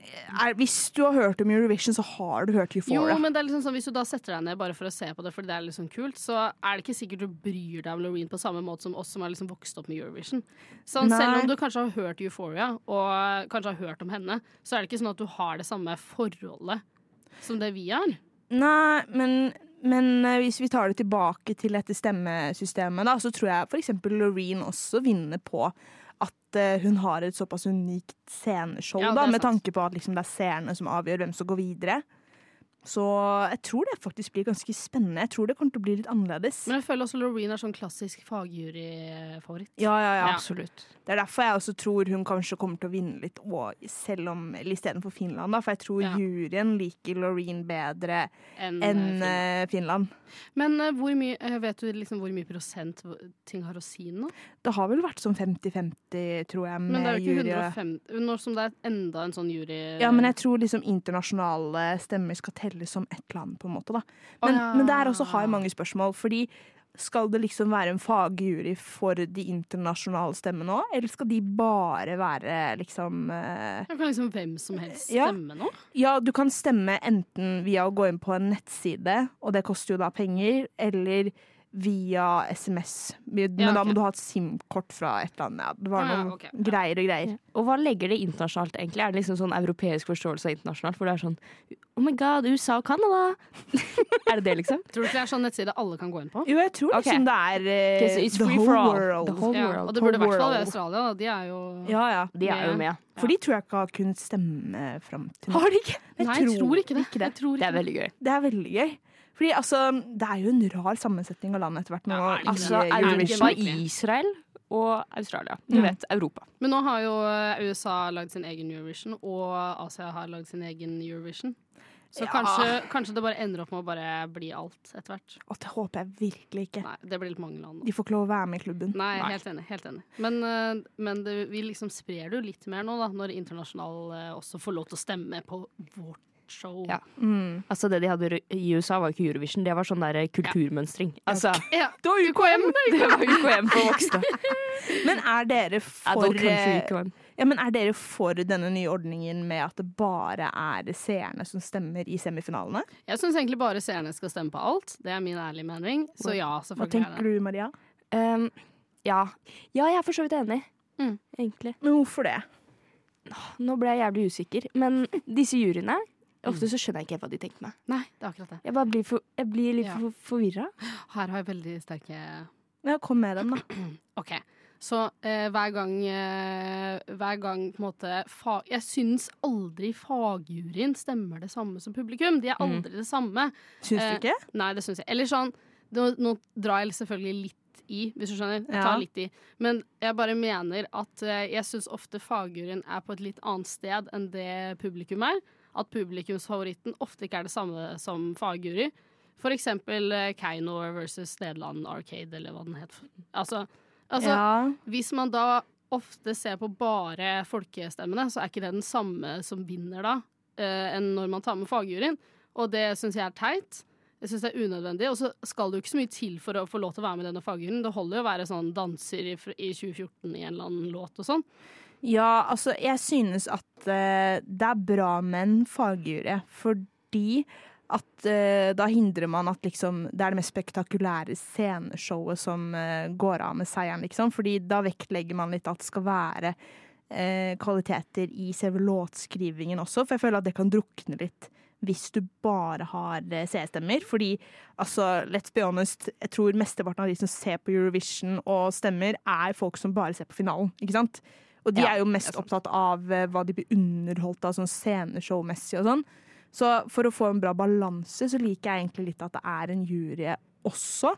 B: er, hvis du har hørt om Eurovision, så har du hørt
D: Jo,
B: Euphoria.
D: men det er liksom sånn, hvis du da setter deg ned bare for å se på det fordi det er liksom kult, så er det ikke sikkert du bryr deg om Loreen på samme måte som oss som har liksom vokst opp med Eurovision. Sånn,
B: Nei.
D: selv om du kanskje har hørt Euphoria, og kanskje har hørt om henne, så er det ikke sånn at du har det samme forholdet som det vi har.
B: Nei, men, men eh, hvis vi tar det tilbake til dette stemmesystemet, da, så tror jeg f.eks. Loreen også vinner på at eh, hun har et såpass unikt sceneshow,
D: Ja, det
B: da,
D: er
B: med
D: sant.
B: tanke på at liksom, det er seerne som avgjør hvem som går videre. Så jeg tror det faktisk blir ganske spennende. Jeg tror det kommer til å bli litt annerledes.
D: Men jeg føler også Loreen er sånn klassisk fagjuryfavoritt.
B: Ja, ja, ja.
C: Absolutt.
B: Det er derfor jeg også tror hun kanskje kommer til å vinne litt, og selv om, eller istedenfor Finland, da, for jeg tror
D: Ja.
B: juryen liker Loreen bedre
D: enn, eh,
B: enn
D: film.
B: eh, Finland.
D: Men eh, hvor mye, eh, vet du liksom hvor mye prosent ting har å si nå?
B: Det har vel vært sånn 50-50, tror jeg,
D: Men
B: med
D: det er jo ikke
B: jury.
D: 150 Når som det er enda en sånn jury...
B: Ja, men jeg tror liksom internasjonale stemmer skal telles som ett land, på en måte, da.
D: Å,
B: Men,
D: ja.
B: men der også har jeg mange spørsmål, fordi skal det liksom være en fagjury for de internasjonale stemmene òg, eller skal de bare være liksom eh,
D: Jeg kan liksom hvem som helst
B: Ja.
D: stemme nå.
B: Ja, du kan stemme enten via å gå inn på en nettside, og det koster jo da penger, eller via SMS. Men
D: Ja,
B: da
D: ok.
B: må du ha et SIM-kort fra et eller annet. Ja. Det var
D: Ah, ja,
B: noen
D: ok, ja.
B: greier og greier.
C: Og hva legger det internasjonalt, egentlig? Er det liksom sånn europeisk forståelse av internasjonalt? Hvor det er sånn Oh my god, USA og Canada! er det det, liksom?
D: Tror du ikke det er sånn nettside alle kan gå inn på?
B: Jo, jeg tror
C: Ok.
B: liksom det er eh,
C: Okay, so it's
B: the
C: free
B: whole
C: for all.
B: world.
C: The whole
D: Ja,
C: world.
D: og det burde i
B: whole
D: hvert fall være
B: world.
D: Australia. Da. De er jo
B: Ja, ja.
C: De er jo med.
B: For de tror jeg ikke har kunnet stemme fram til nå.
C: Har de ikke?
D: Nei, jeg tror ikke det. Jeg tror
C: Det
D: ikke
C: er veldig gøy.
B: Det er veldig gøy. Fordi altså, det er jo en rar sammensetning av land etter hvert. nå
D: Ja, er det ikke
B: i
D: det?
C: Altså,
D: er det ikke
C: Europa,
D: merkelig?
C: Israel og Australia. Du vet, Europa.
D: Men nå har jo eh, USA lagd sin egen Eurovision, og Asia har lagd sin egen Eurovision. Så kanskje, kanskje det bare ender opp med å bare bli alt etter hvert.
B: Og det håper jeg virkelig ikke.
D: Nei, det blir litt mange land. nå.
B: De får ikke lov å være med i klubben.
D: Nei, helt enig. helt enig. Men, eh, men det, vi liksom sprer det jo litt mer nå, da, når internasjonal eh, også får lov til å stemme på vårt show.
C: Ja. Altså, det de hadde i USA, var ikke Eurovision. Det var sånn der kulturmønstring. Altså,
D: Ja,
C: det var UKM! Det var UKM for voksne.
B: Men er dere
C: Adult
B: for
C: Country
B: eh,
C: UKM.
B: Ja, men Er dere for denne nye ordningen med at det bare er seerne som stemmer i semifinalene?
D: Jeg syns egentlig bare seerne skal stemme på alt. Det er min ærlige mening. Så ja,
B: Hva
D: selvfølgelig. er
B: tenker
D: det.
B: du, Maria?
C: Um, ja. ja, jeg er for så vidt enig.
D: Mm.
C: Egentlig.
B: Men hvorfor det?
C: Nå ble jeg jævlig usikker. Men disse juryene
D: Mm.
C: Ofte så skjønner jeg ikke helt hva de tenker med.
D: Nei, det er akkurat det.
C: Jeg bare blir, for, jeg blir litt
D: Ja.
C: for, forvirra.
D: Her har jeg veldig sterke
B: Ja, kom med dem, da.
D: OK. Så eh, hver gang eh, Hver gang på en måte fa Jeg syns aldri fagjuryen stemmer det samme som publikum. De er aldri det samme.
B: Syns
D: Eh,
B: du ikke?
D: Nei, det syns jeg. Eller sånn Nå, nå drar jeg selvfølgelig litt i, hvis du skjønner. Jeg
B: Ja.
D: tar litt i. Men jeg bare mener at eh, jeg syns ofte fagjuryen er på et litt annet sted enn det publikum er. At publikumsfavoritten ofte ikke er det samme som fagjury. For eksempel eh, Keiino versus Nederland Arcade, eller hva den het. Altså, altså
B: ja.
D: hvis man da ofte ser på bare folkestemmene, så er ikke det den samme som vinner da, eh, enn når man tar med fagjuryen. Og det syns jeg er teit. Jeg synes det er unødvendig. Og så skal det jo ikke så mye til for å få lov til å være med i denne fagjuryen. Det holder jo å være sånn danser i, fr- i 2014 i en eller annen låt og sånn.
B: Ja, altså, jeg synes at eh, det er bra med en fagjury, fordi at eh, da hindrer man at liksom Det er det mest spektakulære sceneshowet som eh, går av med seieren, liksom. Fordi da vektlegger man litt at det skal være eh, kvaliteter i selve låtskrivingen også, for jeg føler at det kan drukne litt. Hvis du bare har eh, seerstemmer. Fordi, altså, let's be honest, jeg tror mesteparten av de som ser på Eurovision og stemmer, er folk som bare ser på finalen, ikke sant? Og de
C: Ja,
B: er jo mest opptatt av eh, hva de blir underholdt av, sånn sceneshowmessig og sånn. Så for å få en bra balanse, så liker jeg egentlig litt at det er en jury også.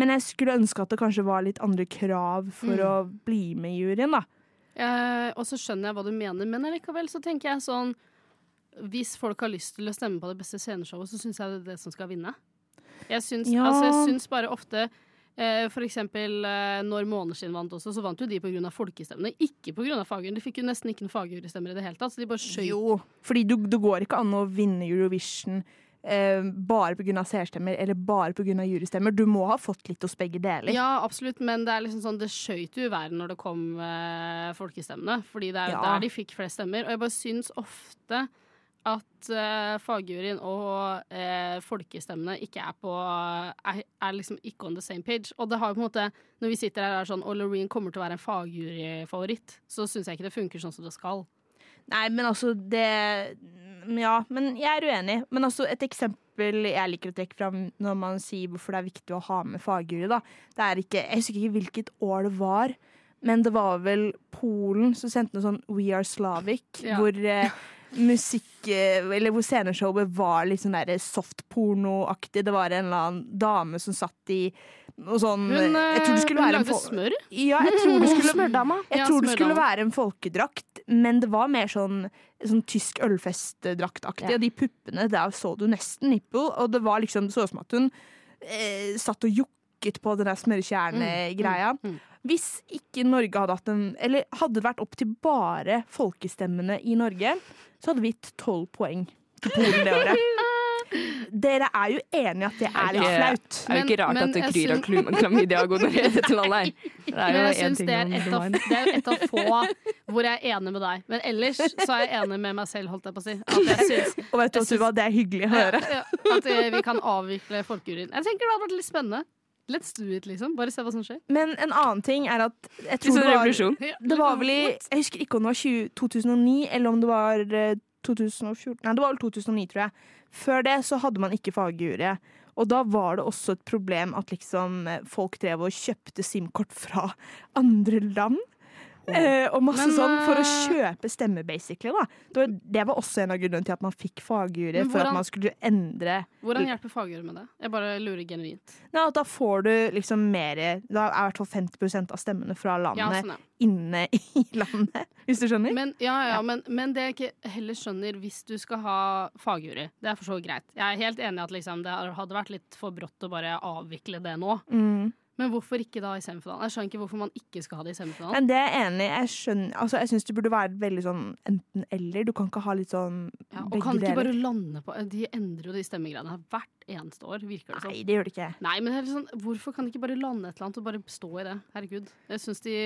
B: Men jeg skulle ønske at det kanskje var litt andre krav for å bli med i juryen, da.
D: Eh, og så skjønner jeg hva du mener, men allikevel så tenker jeg sånn Hvis folk har lyst til å stemme på det beste sceneshowet, så syns jeg det er det som skal vinne. Jeg syns,
B: Ja.
D: altså, jeg syns bare ofte eh, for eksempel eh, når Måneskinn vant også, så vant jo de pga. folkestemmene. Ikke pga. fagjuryen. De fikk jo nesten ikke noen fagjurystemmer i det hele tatt, så de bare skjøt.
B: Fordi du, det går ikke an å vinne Eurovision eh, bare pga. seerstemmer eller bare pga. jurystemmer. Du må ha fått litt hos begge deler.
D: Ja, absolutt, men det er liksom sånn Det skøyt jo i været når det kom eh, folkestemmene, fordi det er
B: Ja.
D: der de fikk flest stemmer. Og jeg bare syns ofte at eh, fagjuryen og eh, folkestemmene ikke er på er, er liksom ikke on the same page. Og det har jo på en måte Når vi sitter her og er sånn Og Loreen kommer til å være en fagjuryfavoritt, så syns jeg ikke det funker sånn som det skal.
B: Nei, men altså det mm, Ja, men jeg er uenig. Men altså et eksempel jeg liker å trekke fram når man sier hvorfor det er viktig å ha med fagjury, da. Det er ikke Jeg husker ikke hvilket år det var. Men det var vel Polen som sendte noe sånn We Are Slavic,
D: Ja.
B: hvor eh, musikk eh, Eller hvor sceneshowet var litt sånn derre softpornoaktig. Det var en eller annen dame som satt i noe sånn
D: Hun,
B: Jeg tror det
D: eh, hun
B: skulle være en
D: lagde
B: fol-
D: smør.
B: Ja, jeg tror det skulle
C: Smørdama.
B: jeg
D: Ja,
B: tror det
D: smørdame.
B: skulle være en folkedrakt, men det var mer sånn, sånn tysk ølfestdraktaktig.
C: Ja.
B: Og de puppene, der så du nesten nipple, og det var liksom så ut som at hun eh, satt og jokket på den der smørkjerne-greia.
D: mm, mm.
B: Hvis ikke Norge hadde hatt en Eller hadde det vært opp til bare folkestemmene i Norge, så hadde vi gitt tolv poeng til Polen det året. Dere er jo enige at det er litt
C: Ja.
B: flaut.
C: Det er jo ikke
D: Men-
C: rart
D: men
C: at det
D: jeg
C: kryr av klam- klamydia og gonoré i dette landet her. Det er
D: Men
C: jo
D: jeg
C: en
D: syns
C: ting
D: det er
C: om
D: et av,
C: Romain.
D: det er jo et av få hvor jeg er enig med deg. Men ellers så er jeg enig med meg selv, holdt jeg på å si. At jeg syns
B: Og vet du hva, Tuva, det er hyggelig å høre.
D: ja, at eh, vi kan avvikle folkejuryen. Jeg tenker det hadde vært litt spennende. Let's do it, liksom. Bare se hva som skjer.
B: Men en annen ting er at jeg
C: Litt
B: tror
C: sånn
B: det var
C: revolusjon.
B: Det var vel i Jeg husker ikke om det var 20, 2009 eller om det var eh, 2014 Nei, det var vel 2009, tror jeg. Før det så hadde man ikke fagjury. Og da var det også et problem at liksom eh, folk drev og kjøpte SIM-kort fra andre land. Eh, og masse
D: Men,
B: sånn for å
D: eh,
B: kjøpe stemme, basically. da det var, det var også en av grunnene til at man fikk fagjury,
D: Men
B: for
D: hvordan-
B: at man skulle endre
D: Hvordan hjelper fagjuryen med det? Jeg bare lurer genuint.
B: Nei, at Da får du liksom mer Da er i hvert fall 50 av stemmene fra
D: Ja,
B: landet
D: sånn ja.
B: inne i landet, hvis du skjønner?
D: Men, ja, ja, men, men det jeg ikke heller skjønner, hvis du skal ha fagjury, det er for så vidt greit. Jeg er helt enig i at liksom, det hadde vært litt for brått å bare avvikle det nå.
B: Mm.
D: Men hvorfor ikke da i semifinalen? Jeg skjønner ikke hvorfor man ikke skal ha det i semifinalen.
B: Men det er jeg enig i. Jeg, skjønner- altså, jeg syns det burde være veldig sånn enten-eller. Du kan ikke ha litt sånn
D: Ja, og
B: begge
D: kan de ikke
B: deler.
D: bare lande på De endrer jo de stemmegreiene her hvert eneste år, virker det som.
B: Nei, det gjør det ikke.
D: Nei, men det er litt sånn, hvorfor kan de ikke bare lande et eller annet og bare stå i det? Herregud. Jeg syns de,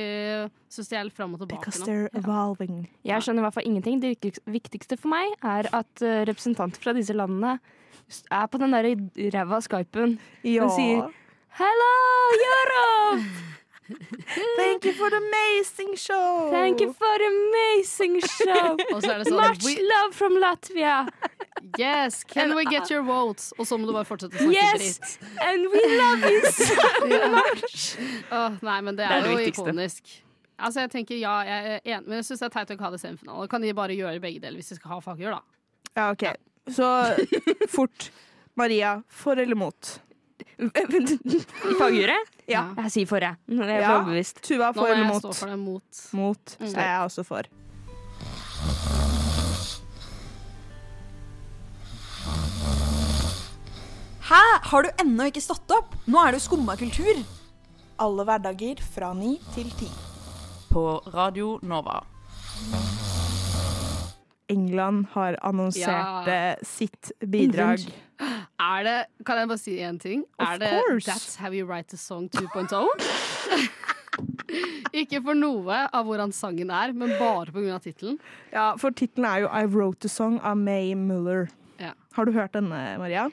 D: syns de er litt fram og tilbake
B: Because
D: nå.
B: they're evolving.
C: Jeg skjønner i hvert fall ingenting. Det viktig- viktigste for meg er at eh, representanter fra disse landene s- er på den der ræva Skypen
B: Ja.
C: og sier Hello, Europe!
B: Thank you for the amazing show!
C: Thank you for amazing show!
D: Og så er det sånn
C: Much
D: we,
C: love from Latvia!
D: Yes, can we get your votes? Og så må du bare fortsette å snakke
C: Yes!
D: dritt.
C: And we love you so
D: Åh, nei, men
C: Det
D: det
C: er
D: er,
C: det
D: jo
C: viktigste.
D: ikonisk. Altså, jeg tenker ja, jeg er enig, men jeg syns det er teit å ikke ha det i semifinalen. Kan de bare gjøre begge deler hvis de skal ha fagjør, da?
B: Ja, OK. Så fort. Maria, for eller mot?
C: Fagure?
B: Ja.
C: Jeg sier for, jeg. Jeg er
B: Ja.
C: overbevist.
B: Tuva,
D: Nå
B: for
D: må
B: eller
D: jeg
B: mot?
D: stå for det mot.
B: Mot. Så
D: Mm.
B: er jeg også for.
F: Hæ? Har du ennå ikke stått opp? Nå er det jo skumma kultur.
A: Alle hverdager fra ni til ti.
I: På Radio Nova.
B: England har annonsert
D: Ja.
B: eh, sitt bidrag.
D: Er det Kan jeg bare si én ting?
B: Of
D: er det
B: course.
D: That's How You Write a Song 2.0? Ikke for noe av hvordan sangen er, men bare pga. tittelen.
B: Ja, For tittelen er jo I Wrote a Song av May Muller.
D: Ja.
B: Har du hørt denne, Maria?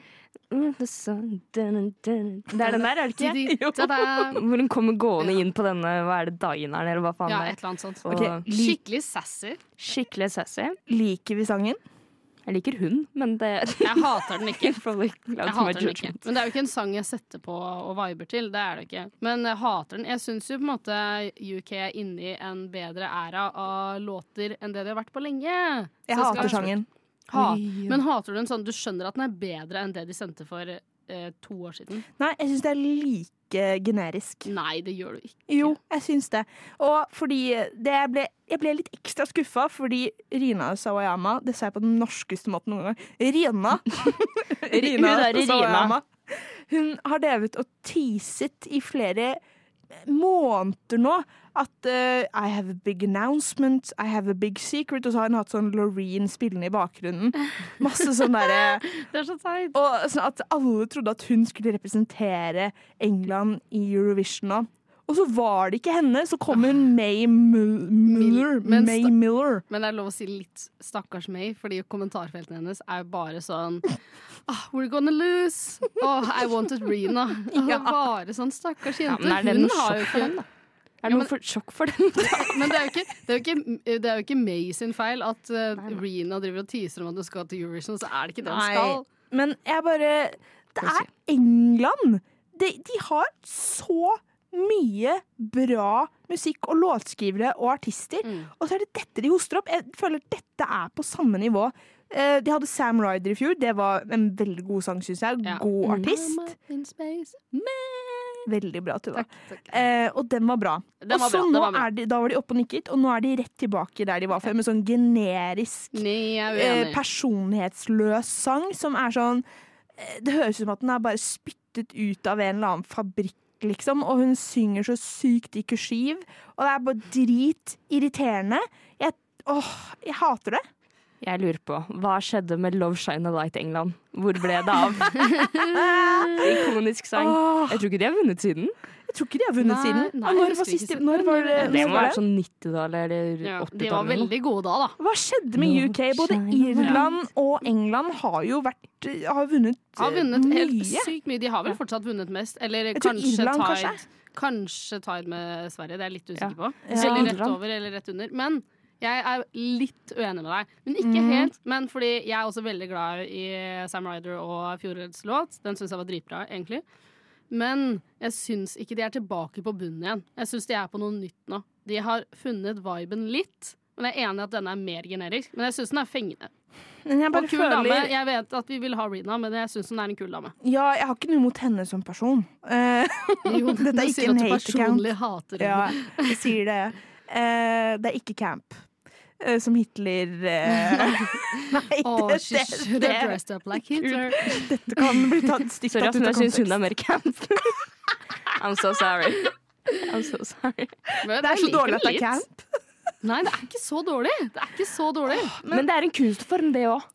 C: Mm, the sun, dun, dun, dun. Det er den der, er det ikke?
D: Ta-da!
C: Hvor hun kommer gående inn på denne hva er det, dineren, eller hva faen
D: Ja,
C: det
D: et
C: er.
D: eller annet sånt.
C: Og
D: Skikkelig sassy.
C: skikkelig sassy.
B: Liker vi sangen?
C: Jeg liker hun, men det
D: Jeg hater den ikke.
C: Probably glad
D: Jeg
C: for my
D: hater den ikke.
C: judgment.
D: Men det er jo ikke en sang jeg setter på og viber til. Det er det ikke. Men jeg hater den. Jeg syns jo på en måte UK er inne i en bedre æra av låter enn det de har vært på lenge. Så
B: Jeg
D: skal-
B: hater sangen.
D: Hat. Men hater du den sånn Du skjønner at den er bedre enn det de sendte for eh, to år siden?
B: Nei, jeg syns det er like generisk.
D: Nei, det gjør du ikke.
B: Jo, jeg syns det. Og fordi det ble, Jeg ble litt ekstra skuffa fordi Rina Sawayama Det sa jeg på den norskeste måten noen gang. Rina.
C: Hun er i Rina.
B: Hun har drevet og teaset i flere måneder nå at eh, I have a big announcement, I have a big secret, og så har hun hatt sånn Loreen spillende i bakgrunnen. Masse sånn derre
D: Det er så teit.
B: Og sånn at alle trodde at hun skulle representere England i Eurovision nå. Og så var det ikke henne, så kom hun May Mul- Miller.
D: Ah. Men
B: May
D: sta-
B: Miller.
D: Men det er lov å si litt stakkars May, fordi kommentarfeltene hennes er jo bare sånn ah, We're gonna lose. Oh, I wanted Rena. Og Bare sånn stakkars
C: Ja,
D: jente.
C: men er det
D: Hun
C: noe
D: har jo
C: sjokk for
D: ikke
C: dem, da? Er det noe for, sjokk for dem?
D: Men det er, jo ikke, det, er jo ikke, det er jo ikke May sin feil at uh, Rena driver og teaser om at hun skal til Eurovision, så er det ikke det hun
B: Nei.
D: skal.
B: Men jeg bare Det
C: Crazy.
B: er England! De, de har så mye bra musikk og låtskrivere og artister,
D: Mm.
B: og så er det dette de hoster opp. Jeg føler dette er på samme nivå. Eh, De hadde Sam Ryder i fjor. Det var en veldig god sang, syns jeg.
D: Ja.
B: God
C: Mm.
B: artist.
D: In space.
B: Veldig bra, Tuva.
D: Takk, takk.
B: Eh, og den var bra.
D: Den
B: og
D: var
B: så
D: bra.
B: nå
D: Den var bra.
B: er de, Da var de oppe og nikket, og nå er de rett tilbake der de var før, med sånn generisk
D: Nei, jeg er
B: eh,
D: uenig.
B: personlighetsløs sang som er sånn eh, Det høres ut som at den er bare spyttet ut av en eller annen fabrikk, liksom. Og hun synger så sykt i kursiv, og det er bare dritirriterende. Jeg, åh, jeg hater det.
C: Jeg lurer på, hva skjedde med Love Shine a Light England? Hvor ble det av? Ikonisk sang.
B: Åh,
C: Jeg tror ikke de har vunnet siden.
B: jeg tror ikke de har vunnet
D: Nei,
B: siden.
D: nei,
B: Og når
D: jeg
B: var
D: husker ikke
B: siste
D: siden.
B: Når var det?
C: Det
B: når
C: må
B: var
C: være
B: det?
C: sånn 90-tallet eller
D: Ja, de
C: 80-tallet.
D: var
C: eller noe.
D: veldig gode da, da.
B: Hva skjedde med
C: Lord
B: UK? Både
C: shine on us.
B: Irland og England har jo vært Har vunnet,
D: Har
B: eh,
D: vunnet helt
B: mye.
D: sykt mye. De har vel fortsatt vunnet mest. Eller
B: Jeg tror
D: kanskje
B: Irland,
D: Tide.
B: kanskje?
D: Kanskje Tide med Sverige, det er jeg litt usikker på.
B: Ja.
D: Eller rett
C: Irland.
D: over eller rett under. Men jeg er litt uenig med deg. Men ikke
B: Mm.
D: helt. Men fordi jeg er også veldig glad i eh, Sam Ryder og fjorårets låt. Den syns jeg var dritbra, egentlig. Men jeg syns ikke de er tilbake på bunnen igjen. Jeg syns de er på noe nytt nå. De har funnet viben litt. Men jeg er enig i at denne er mer generisk. Men jeg syns den er fengende.
B: Men jeg
D: Og
B: bare
D: kul
B: føler
D: dame. Jeg vet at vi vil ha Rina, men jeg syns hun er en kul dame.
B: Ja, jeg har ikke noe imot henne som person. Eh,
D: Jo,
B: Dette er
D: du
B: ikke
D: sier
B: en
D: at du
B: hate account.
D: personlig hater
B: ja,
D: henne.
B: jeg sier det. Eh, det er ikke camp. Eh, som Hitler eh, Nei,
D: Oh,
B: det,
D: she
B: det,
D: should
B: det,
D: have dressed up like Hitler.
B: dette kan bli tatt stygt
C: Sorry,
B: tatt
C: ass,
B: ut
C: men
B: av
C: jeg syns hun er
B: kontekst.
C: mer camp. I'm so sorry. I'm so sorry.
D: Men
B: Det er
D: jeg
B: så
D: liker
B: dårlig at det er
D: litt.
B: camp.
D: Nei, det er ikke så dårlig. Det er ikke så dårlig.
C: Men det er en kunstform, det òg.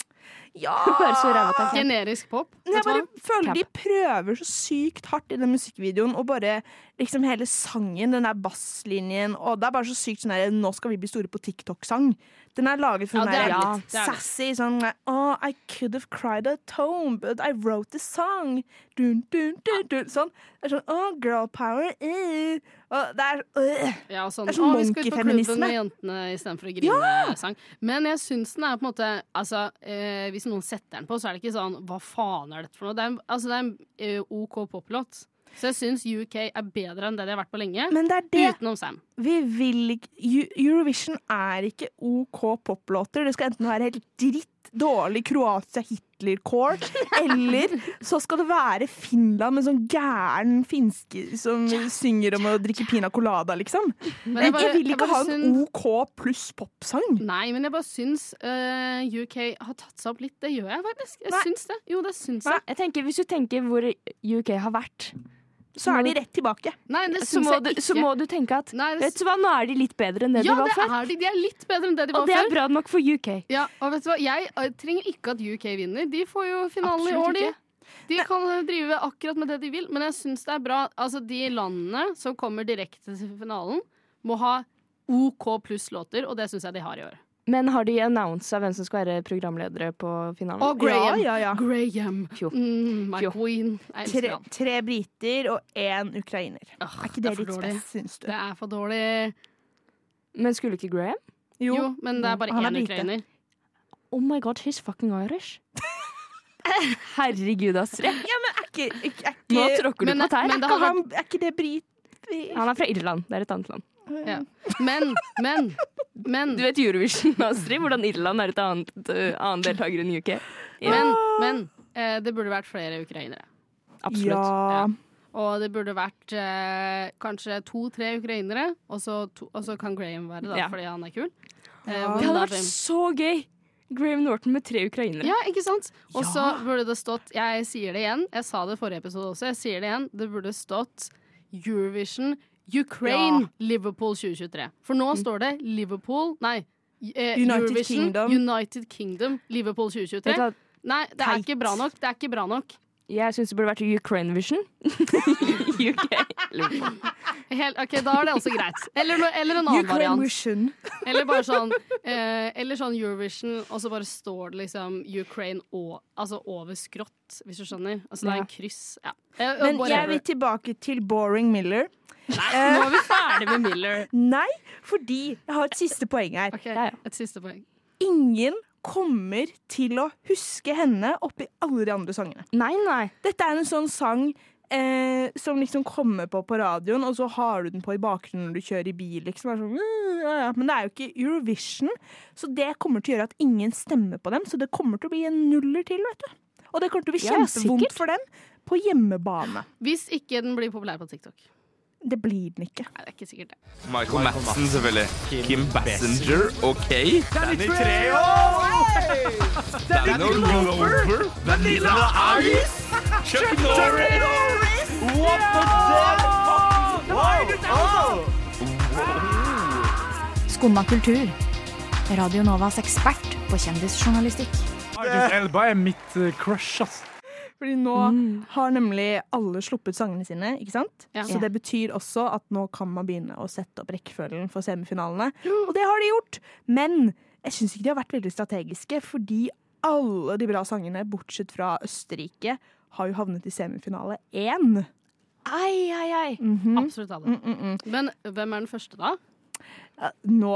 B: Ja!
C: Bare så ræva til camp.
D: Generisk pop.
B: Men jeg
D: Vet du
B: bare
D: hva?
B: føler
C: Camp.
B: de prøver så sykt hardt i den musikkvideoen, og bare liksom hele sangen, den der basslinjen, og det er bare så sykt sånn der 'Nå skal vi bli store på TikTok'-sang. Den er laget for
D: Ja,
B: den
D: det
B: der
D: er det
B: ja,
D: litt. Det er det.
B: sassy sånn Oh, I could have cried at home, but I wrote the song. Dun, dun, dun, dun, sånn. Det er sånn Oh, girl power. eh». Og det er øh.
D: Ja, sånn,
B: Det er sånn
D: «Å, vi skal ut på klubben
B: monkeyfeminisme.
D: med jentene istedenfor å grine-sang. Men jeg syns den er på en måte altså, eh, Hvis noen setter den på, så er det ikke sånn Hva faen er dette for noe? Det er en, altså, det er en eh, OK poplåt. Så jeg syns UK er bedre enn det de har vært på lenge.
B: Men det er det
D: Utenom Sam.
B: vi vil ikke Eu- Eurovision er ikke OK poplåter. Det skal enten være helt dritt dårlig Kroatia-Hitler-core, eller så skal det være Finland med sånn gæren finske som synger om å drikke pina colada, liksom.
D: Men
B: Jeg, jeg vil
D: jeg
B: ikke ha en
D: syns-
B: OK pluss popsang.
D: Nei, men jeg bare syns eh, UK har tatt seg opp litt. Det gjør jeg faktisk. Jeg
B: Nei.
D: syns det. Jo, det syns jeg.
C: Jeg tenker, Hvis du tenker hvor UK har vært,
B: Så er de rett tilbake.
D: Nei, det
C: så
D: syns
C: må,
D: jeg
C: du,
D: ikke.
C: så må du tenke at
D: Nei, det,
C: Vet du hva, nå er de litt bedre enn det
D: ja,
C: de var
D: det
C: før.
D: er de. De er litt bedre enn det de
C: Og
D: var
C: det er
D: før.
C: bra nok for UK.
D: Ja, og vet du hva? Jeg eh, trenger ikke at UK vinner. De får jo finalen i
C: Absolutt
D: år, de.
C: ikke.
D: De kan eh, drive akkurat med det de vil, men jeg syns det er bra. Altså, de landene som kommer direkte til finalen, må ha OK pluss låter, og det syns jeg de har i år.
C: Men har de annonsa hvem som skal være programledere på finalen?
D: Og Graham.
B: Ja, ja, ja.
D: Graham.
C: Fjo.
D: Mm, my
C: Fjo.
D: queen. Jeg elsker
B: Tre,
D: han.
B: tre briter og én ukrainer.
D: Åh,
B: Er ikke
D: det
B: det
D: er for
B: litt
D: dårlig.
B: spes, syns du?
D: Det er for dårlig.
C: Men skulle ikke Graham?
D: Jo, men det er bare
B: han er
D: én
B: hvite.
D: ukrainer.
C: Oh my god, he's fucking Irish. Herregud, Astrid.
B: Er ikke, er ikke,
C: Nå
B: er
C: tråkker du
D: Men-
C: på tær.
D: men
B: ikke,
D: det har vært-
B: han, er ikke det brit...
C: Han er fra Irland. Det er et annet land.
D: Ja. Men, men, men,
C: Du vet Eurovision, Astrid, hvordan Irland er et annet eh, annen deltaker enn UK.
D: men, men eh, det burde vært flere ukrainere.
C: Absolutt.
B: Ja.
D: Og det burde vært eh, kanskje to-tre ukrainere, og så, to, og så kan Graham være da,
C: Ja.
D: fordi han er kul. Eh,
B: Ja.
D: one
C: Det hadde
D: love
C: vært
D: him.
C: så gøy! Graham Norton med tre ukrainere.
D: ja, ikke sant? Og så burde det stått Jeg sier det igjen, jeg sa det i forrige episode også, jeg sier det igjen. Det burde stått Eurovision Ukraine, Liverpool 2023. For nå står det Liverpool Nei. eh,
B: Mm. United
D: Eurovision,
B: Kingdom.
D: United Kingdom, Liverpool 2023.
C: Vet du hva?
D: Nei, det er
B: Teit.
D: ikke bra nok. Det er ikke bra nok.
C: Jeg syns det burde vært Ukraine Vision. UK.
D: Helt, ok, Da er det også greit. Eller, no, eller en annen
B: Ukraine
D: variant.
B: Vision.
D: Eller bare sånn eh, Eller sånn Eurovision, og så bare står det liksom Ukraine å- altså over skrått, hvis du skjønner. Altså det er en kryss. Ja. Eh,
B: Men jeg
D: whatever.
B: vil tilbake til Boring Miller.
D: Nå er vi ferdig med Miller.
B: Nei, fordi jeg har et siste poeng her.
D: Ok, Et siste poeng.
B: Ingen kommer til å huske henne oppi alle de andre sangene.
C: Nei, nei.
B: Dette er en sånn sang eh, som liksom kommer på på radioen, og så har du den på i bakgrunnen når du kjører i bil. Liksom. Det er Sånn, «Mm, ja, ja». Men det er jo ikke Eurovision, så det kommer til å gjøre at ingen stemmer på dem. Så det kommer til å bli en nuller til, vet du. Og det kommer til å bli
C: Ja,
B: kjempevondt
C: sikkert.
B: for dem på hjemmebane.
D: Hvis ikke den blir populær på TikTok. Nei,
B: Det blir den ikke.
D: det er ikke sikkert det.
J: Michael Madsen, selvfølgelig. Kim Bassinger, OK? Danny Treho! Danny Glover! Vanilla Ice! Chuck Norris! What the fuck?
F: Skumma kultur. Radio Novas ekspert på kjendisjournalistikk.
K: Idris Elba er mitt eh, crush, ass.
B: Fordi nå har nemlig alle sluppet sangene sine, ikke sant?
D: Ja.
B: Så det betyr også at nå kan man begynne å sette opp rekkefølgen for semifinalene. Og det har de gjort! Men jeg syns ikke de har vært veldig strategiske, fordi alle de bra sangene, bortsett fra Østerrike, har jo havnet i semifinale én.
C: Ai, ai, ai.
B: Mhm.
D: Absolutt
B: Mm,
D: alle. Men hvem er den første, da?
B: Ja, Nå,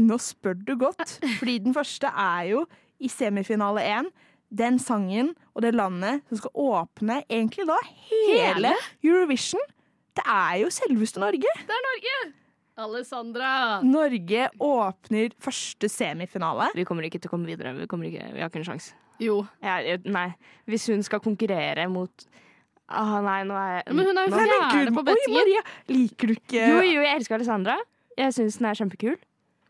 B: nå spør du godt, fordi den første er jo i semifinale én. Den sangen og det landet som skal åpne egentlig da hele Eurovision. Det er jo selveste Norge.
D: Det er Norge! Alessandra!
B: Norge åpner første semifinale.
C: Vi kommer ikke til å komme videre. Vi, kommer ikke, vi har ikke en sjanse.
D: Jo.
C: Jeg, jeg, nei. Hvis hun skal konkurrere mot ah, Nei, nå er jeg
D: Men hun er jo
C: Nå-
D: fjerde på
B: Gud, oi,
D: bettingen.
B: Maria, liker du ikke
C: Jo, jo, jeg elsker Alessandra. Jeg syns den er kjempekul.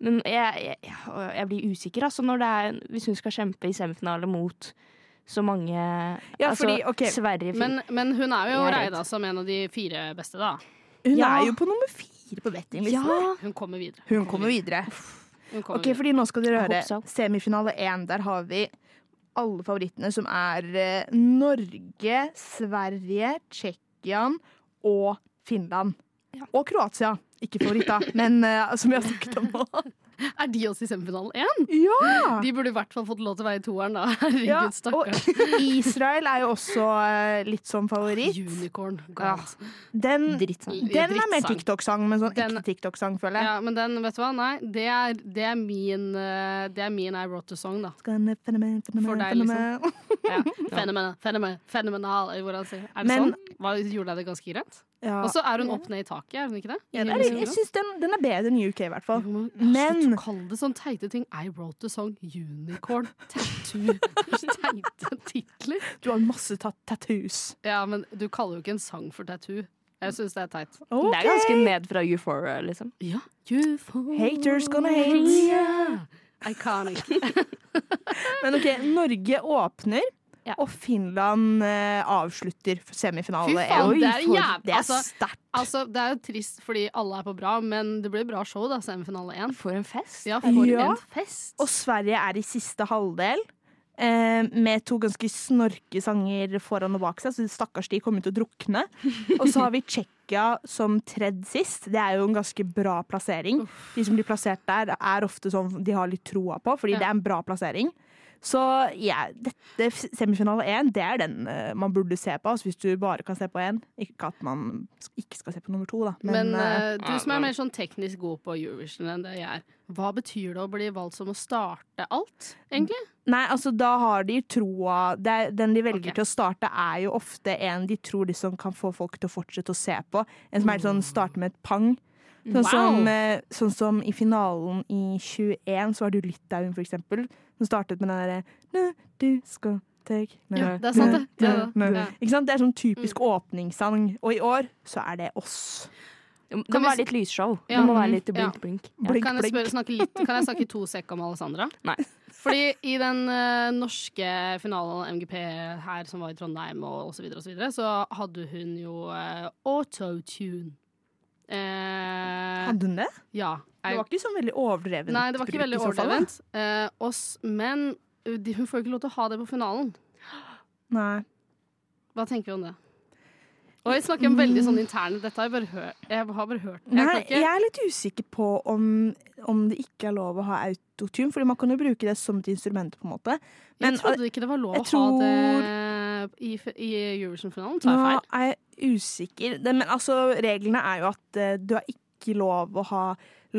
C: Men jeg, jeg, jeg blir usikker altså, når det er, hvis hun skal kjempe i semifinale mot så mange
B: Ja,
C: altså,
B: fordi, ok,
C: Sverige fin-
D: Men, men hun er jo
C: Jeg er redd.
D: regna som en av de fire beste, da.
B: Hun
C: Ja.
B: er jo på nummer fire på bettinglisten.
C: Ja!
D: Hun kommer videre.
B: Hun kommer videre.
D: Hun kommer
B: Ok, fordi nå skal dere
C: Jeg
B: høre.
C: håper så.
B: Semifinale én, der har vi alle favorittene, som er eh, Norge, Sverige, Tsjekkia og Finland. Og Kroatia. Ikke favoritt, da, men eh, som vi har snakket om nå.
D: videre. Er de også i semifinalen én?
B: Ja!
D: De burde i hvert fall fått lov til å være i toeren, da. Herregud,
B: Ja, og
D: stakkars.
B: Israel er jo også eh, litt som favoritt.
D: Unicorn. God.
B: Den,
C: Drittsang.
B: den er mer
D: Drittsang.
B: TikTok-sang, men sånn
D: Den-
B: ekte TikTok-sang, føler jeg.
D: Ja, men den, vet du hva? Nei, det er, det er min eh, Det er min I wrote a song, da.
B: Fenomen, fenomen,
D: For deg, liksom.
B: fenomen.
D: Ja. Fenomen, fenomen, fenomenal, eller hvordan sier Er det
B: Men-
D: sånn? Hva, gjorde jeg det ganske greit?
B: Ja.
D: Og så er hun opp ned i taket, er hun ikke det?
B: Ja, det er, jeg syns den, den er bedre enn UK, i hvert fall.
D: Men
B: Men-
D: Slutt å kalle det sånn teite ting. I wrote a song. Unicorn. Tattoo. Teite titler.
B: Du har masse tatt tattoos.
D: Ja, men du kaller jo ikke en sang for tattoo. Jeg syns det er teit.
C: Det er ganske ned fra Euphoria, liksom.
D: Ja. UFO.
B: Haters gonna hate.
D: Iconic.
B: Men OK, Norge åpner,
C: Ja.
B: og Finland eh, avslutter
D: Fy
B: semifinale.
D: faen,
B: Oi,
D: det er
B: for-
D: jæv-
B: Det er
D: altså-
B: sterkt.
D: Altså, det er jo trist fordi alle er på bra, men det blir bra show, da, semifinale én.
C: For en fest.
D: Ja, for
B: Ja.
D: en fest.
B: Og Sverige er i siste halvdel. eh, Med to ganske snorke sanger foran og bak seg, så stakkars de kommer til å drukne. Og så har vi Tsjekkia som tredd sist. Det er jo en ganske bra plassering. De som blir plassert der, er ofte sånn de har litt troa på, fordi
D: Ja.
B: det er en bra plassering. Så ja, dette semifinale én, det er den eh, man burde se på. Altså hvis du bare kan se på én. Ikke at man ikke skal se på nummer to, da.
D: Men,
B: Men, eh,
D: eh, du som er mer sånn teknisk god på Eurovision enn det jeg er, hva betyr det å bli valgt som å starte alt, egentlig?
B: Nei, altså da har de troa det er, Den de velger
D: Ok.
B: til å starte, er jo ofte en de tror liksom kan få folk til å fortsette å se på. En som er litt
D: Mm.
B: sånn starter med et pang. Sånn, som, eh, sånn som i finalen i 21, så var det jo Litauen, for eksempel, som startet med den derre Nå, du skal tek nå,
D: Ja, det er
B: nå,
D: sant, det. Det er
B: nå,
D: det.
B: nå».
D: Ja. Mm.
B: Ikke sant? Det er sånn typisk åpningssang. Og i år så er det oss.
C: Det
D: Kan
C: må
D: vi
C: være
D: s-
C: litt lysshow.
D: Ja.
C: Det må være litt
D: Ja.
C: blink-blink.
B: Blink,
D: Kan jeg,
B: blink.
D: spørre, snakke litt, kan jeg snakke to sekk om Alessandra?
C: Nei.
D: Fordi i den eh, norske finalen MGP her, som var i Trondheim og osv., så, videre, og så, videre, så hadde hun jo eh, autotune. Hadde
B: Hadde hun det?
D: Ja.
B: Det var ikke sånn veldig overdrevent.
D: Nei, det var ikke
B: bruk
D: veldig
B: i så fall, da.
D: overdrevent. Eh, oss, men eh, de, hun får jo ikke lov til å ha det på finalen.
B: Nei.
D: Hva tenker vi om det? Og jeg snakker om veldig sånn interne Dette har jeg bare hørt. Jeg har bare hørt. Jeg
B: Nei,
D: kan
B: jeg
D: ikke
B: er litt usikker på om, om det ikke er lov å ha autotune, fordi man kan jo bruke det som et instrument, på en måte. eh,
D: Jeg trodde ikke det var lov
B: øh,
D: å
B: jeg
D: ha
B: tror-
D: det i, f- i Eurovision-finalen.
B: Nå
D: Tar jeg feil?
B: er jeg usikker. Det, men altså, reglene er jo at eh, du har ikke lov å ha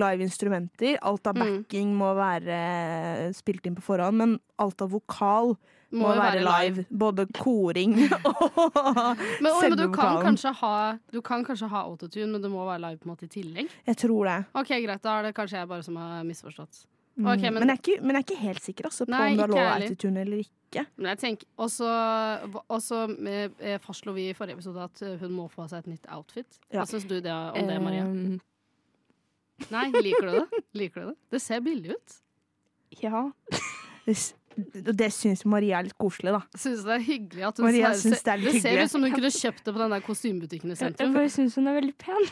B: live instrumenter. Alt av
D: Mm.
B: backing må være eh, spilt inn på forhånd, men alt av vokal må,
D: Må jo
B: være,
D: være
B: live. Både koring og
D: Men, oi, men du,
B: selve
D: kan
B: vokalen.
D: kanskje ha, du kan kanskje ha autotune, men det må være live på en måte i tillegg.
B: Jeg tror det.
D: OK, greit. Da er det kanskje jeg bare som har misforstått.
B: Mm.
D: Ok,
B: men...
D: men-
B: jeg er ikke, men jeg er ikke helt sikker altså, på
D: Nei,
B: om det
D: ikke
B: er lov å
D: jeg
B: ha
D: heller.
B: autotune eller ikke.
D: Men jeg tenker, Og så og så, eh, fastslo vi i forrige episode at eh, hun må få seg et nytt outfit.
B: Ja. Eh.
D: Hva syns du det, om det, Maria?
C: Um,
D: Nei, liker du det? Liker du Det Det ser billig ut.
C: ja.
B: Det, s- det syns Maria er litt koselig, da.
D: Syns det er hyggelig at hun
B: Maria
D: ser-
B: syns det er litt
D: Det ser
B: hyggelig.
D: ut som hun kunne kjøpt det på den der kostymebutikken i
C: Jeg jeg
D: sentrum.
C: bare syns hun er veldig pen.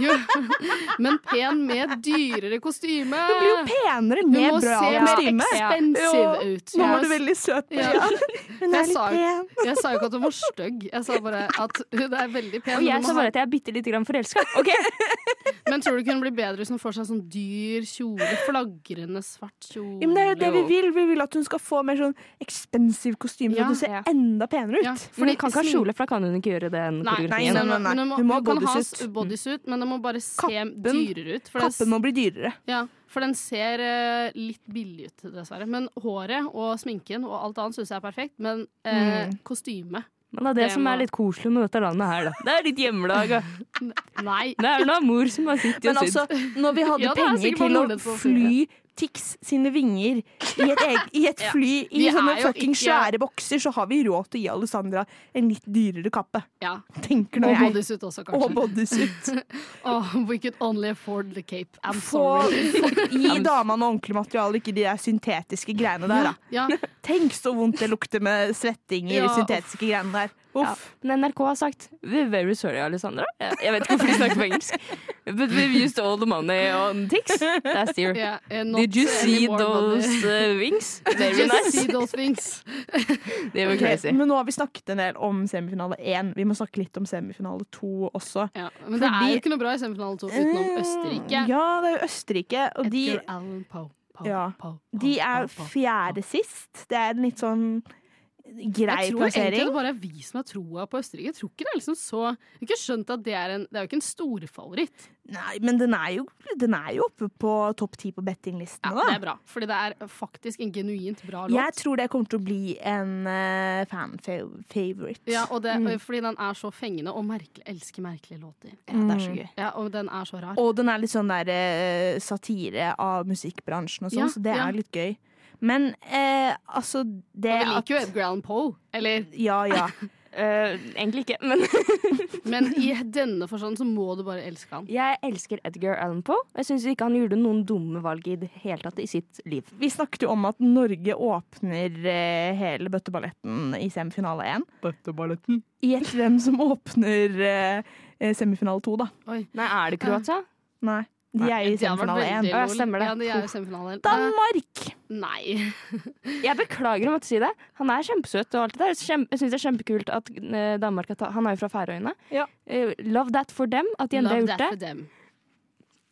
D: Jo, men pen med dyrere kostyme!
B: Hun blir jo penere
D: Hun
B: med
D: må
B: bra
D: se mer
B: kostyme. Ja.
D: expensive ut.
B: Nå var
D: Ja.
B: du veldig søt.
D: Ja.
B: Maria. Hun
D: Jeg
B: er
D: sa-
B: litt pen.
D: Jeg sa jo ikke at hun var stygg, jeg sa bare at hun er veldig pen.
C: Og
D: men hun
C: jeg
D: må
C: sa
D: ha-
C: bare at jeg er bitte lite grann forelska. Ok.
D: Men tror du det kunne bli bedre hvis hun får seg sånn dyr kjole? Flagrende svart kjole.
B: Ja, men det er jo det vi vil. Vi vil at hun skal få mer sånn expensive kostyme, så
D: Ja.
B: hun ser
C: Ja.
B: enda penere ut.
D: Ja,
C: For hun kan ikke ha
D: sn-
C: kjole, for da kan hun ikke gjøre den
D: Nei, nei,
B: nei,
D: nei,
C: koreografien.
B: nei, nei.
D: Men hun må,
B: Hun må ha
D: kan ha
B: bodysuit.
D: s- bodysuit, men den må bare se
B: Kappen-
D: dyrere ut. For den,
B: Kappen
D: s-
B: må bli dyrere.
D: ja, for den ser eh, litt billig ut, dessverre. Men håret og sminken og alt annet syns jeg er perfekt. Men eh,
B: Mm.
D: kostyme
C: Men det er det
D: Det
C: som
D: må-
C: er litt koselig med dette landet her, da. Det er litt hjemmelaga.
D: Nei.
C: Det er noen mor som har sittet
B: Men
C: og sydd.
B: altså, når vi hadde
D: Ja, det er
B: penger
D: sikkert
B: til
D: bare
B: å
D: nordmenn som
B: fly Tix sine vinger i et, eg- i et
D: Ja.
B: fly i
D: Vi er
B: sånne
D: jo
B: fucking
D: ikke-
B: svære bokser, så har vi råd til å gi Alessandra en litt dyrere kappe.
D: Ja.
B: Tenker nå
D: Og
B: jeg.
D: bodysuit også,
B: Og
D: kanskje.
B: bodysuit.
D: Oh, we could only afford the cape. I'm
B: Få,
D: sorry.
B: gi dama noe ordentlig materiale, ikke de der syntetiske greiene der, da.
D: Ja,
B: Tenk så vondt det lukter med svetting i
D: Ja,
B: de syntetiske greiene der.
C: Ja.
B: Uff.
C: Men NRK har sagt We're very sorry, Alessandra. Jeg jeg vet ikke hvorfor de snakker på engelsk. But we've used all the money on Tix last year.
D: yeah, eh, not
C: Did you see
D: anymore, but,
C: those
D: eh,
C: uh, wings? They
D: Did
C: were
D: you see
C: nice.
D: those things?
C: They were
B: Ok,
C: crazy.
B: Men nå har vi snakket en del om semifinale én. Vi må snakke litt om semifinale to også.
D: Ja, men det er
B: Fordi- Mm,
D: jo ikke noe bra i semifinale to utenom Østerrike.
B: Ja, det er jo Østerrike. Og de,
D: Edgar Allan Poe. Poe,
B: Ja.
D: Poe, Poe,
B: de er
D: Poe, Poe.
B: fjerde sist. Det er en litt sånn grei
D: Jeg tror egentlig
B: plassering.
D: det bare er vi som har troa på Østerrike. Jeg tror ikke det er liksom så Jeg har ikke skjønt at det er en Det er jo ikke en storfavoritt.
B: Nei, men den er jo, den er jo oppe på topp ti på
D: Ja,
B: bettinglistene,
D: det
B: da.
D: er bra, fordi det er faktisk en genuint bra låt.
B: Jeg tror det kommer til å bli en eh, fan fav- favorite.
D: ja, og det,
B: Mm.
D: Fordi den er så fengende og merkelig. Elsker merkelige låter.
C: Ja, det er så gøy.
D: Ja, Og den er så rar.
B: Og den er litt sånn der eh, satire av musikkbransjen og sånn,
D: Ja,
B: så det
D: ja.
B: er litt gøy. Men eh, altså det
D: Og vi
B: at-
D: liker jo Edgar Allan Poe, eller
B: Ja, ja.
C: Eh, egentlig ikke, men
D: Men i denne forstand så må du bare elske han.
C: jeg elsker Edgar Allan Poe. Jeg syns ikke han gjorde noen dumme valg i det hele tatt i sitt liv.
B: Vi snakket jo om at Norge åpner eh, hele bøtteballetten i semifinale 1.
K: Bøtteballetten.
B: Gjett hvem som åpner eh, eh, semifinale 2, da.
D: Oi.
C: Nei, er det Kroatia?
B: Nei, de er jo i
D: Det
B: semifinale
D: hadde vært
B: 1.
D: veldig
C: Ja,
D: lol.
C: stemmer det.
D: Ja, de er jo i semifinalen. Eh,
B: Danmark!
D: Nei.
C: Jeg beklager om å måtte si det. Han er kjempesøt og alt det der. Kjem- Jeg syns det er kjempekult at eh, Danmark har tatt Han er jo fra Færøyene.
B: Ja.
C: Eh, love that for them, at de endelig har
D: Love
C: gjort
D: that
C: det.
D: for them.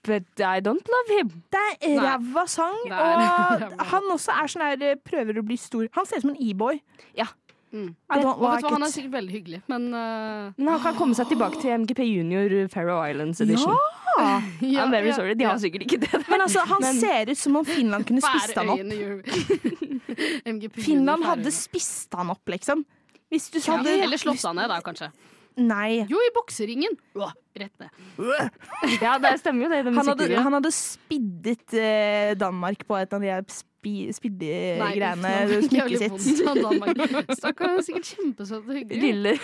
C: But I don't love him.
B: Det er
D: Nei.
B: ræva sang,
D: Det er
B: og
D: ræva.
B: han også er sånn her eh, prøver å bli stor. Han ser ut som en e-boy.
C: Ja.
D: Mm.
B: I don't
D: Og vet du hva,
B: like
D: han er
B: it.
D: sikkert veldig hyggelig, men eh,
C: Men han kan komme seg tilbake til MGP Junior eh, Faroe Islands edition.
B: Ja.
D: ja,
C: I'm very
D: ja,
C: sorry. De
D: ja.
C: har sikkert ikke det.
B: Men altså, han
C: Men-
B: ser ut som om Finland kunne spist han opp.
D: Færøyene gjør- MGP
B: Finland
D: gjør
B: hadde sånn-
D: Færøyene.
B: spist han opp, liksom. Hvis du
D: ja,
B: hadde
D: Eller slått han ned, da, kanskje.
B: Nei.
D: Jo, i bokseringen! Åh, Rett ned.
C: Ja, det stemmer jo det. det
B: Han hadde,
C: musikkvideoen.
B: han hadde spiddet eh, Danmark på et av de her spi, Eh,
D: Nei, uff,
B: spiddegreiene,
D: nå fikk jeg
B: smykket
D: veldig
B: sitt.
D: vondt av Danmark. Stakkar, han er sikkert kjempesøt og hyggelig.
C: Lille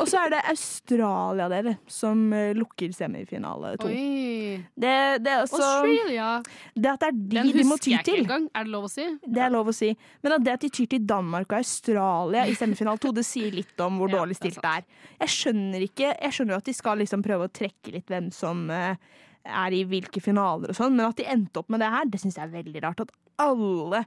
B: Og så er det Australia, dere, som eh, lukker semifinale to.
D: Oi.
B: Det, det, er også,
D: Australia!
B: det at det er de
D: Den
B: de må ty
D: husker jeg ikke
B: til,
D: engang. Er det lov å si?
B: det er lov å si. Men at det at de tyr til Danmark og Australia i semifinale to, det sier litt om hvor
D: Ja,
B: dårlig
D: det er
B: stilt det er. Jeg skjønner ikke Jeg skjønner jo at de skal liksom prøve å trekke litt hvem som eh, er i hvilke finaler og sånn, men at de endte opp med det her, det syns jeg er veldig rart. At alle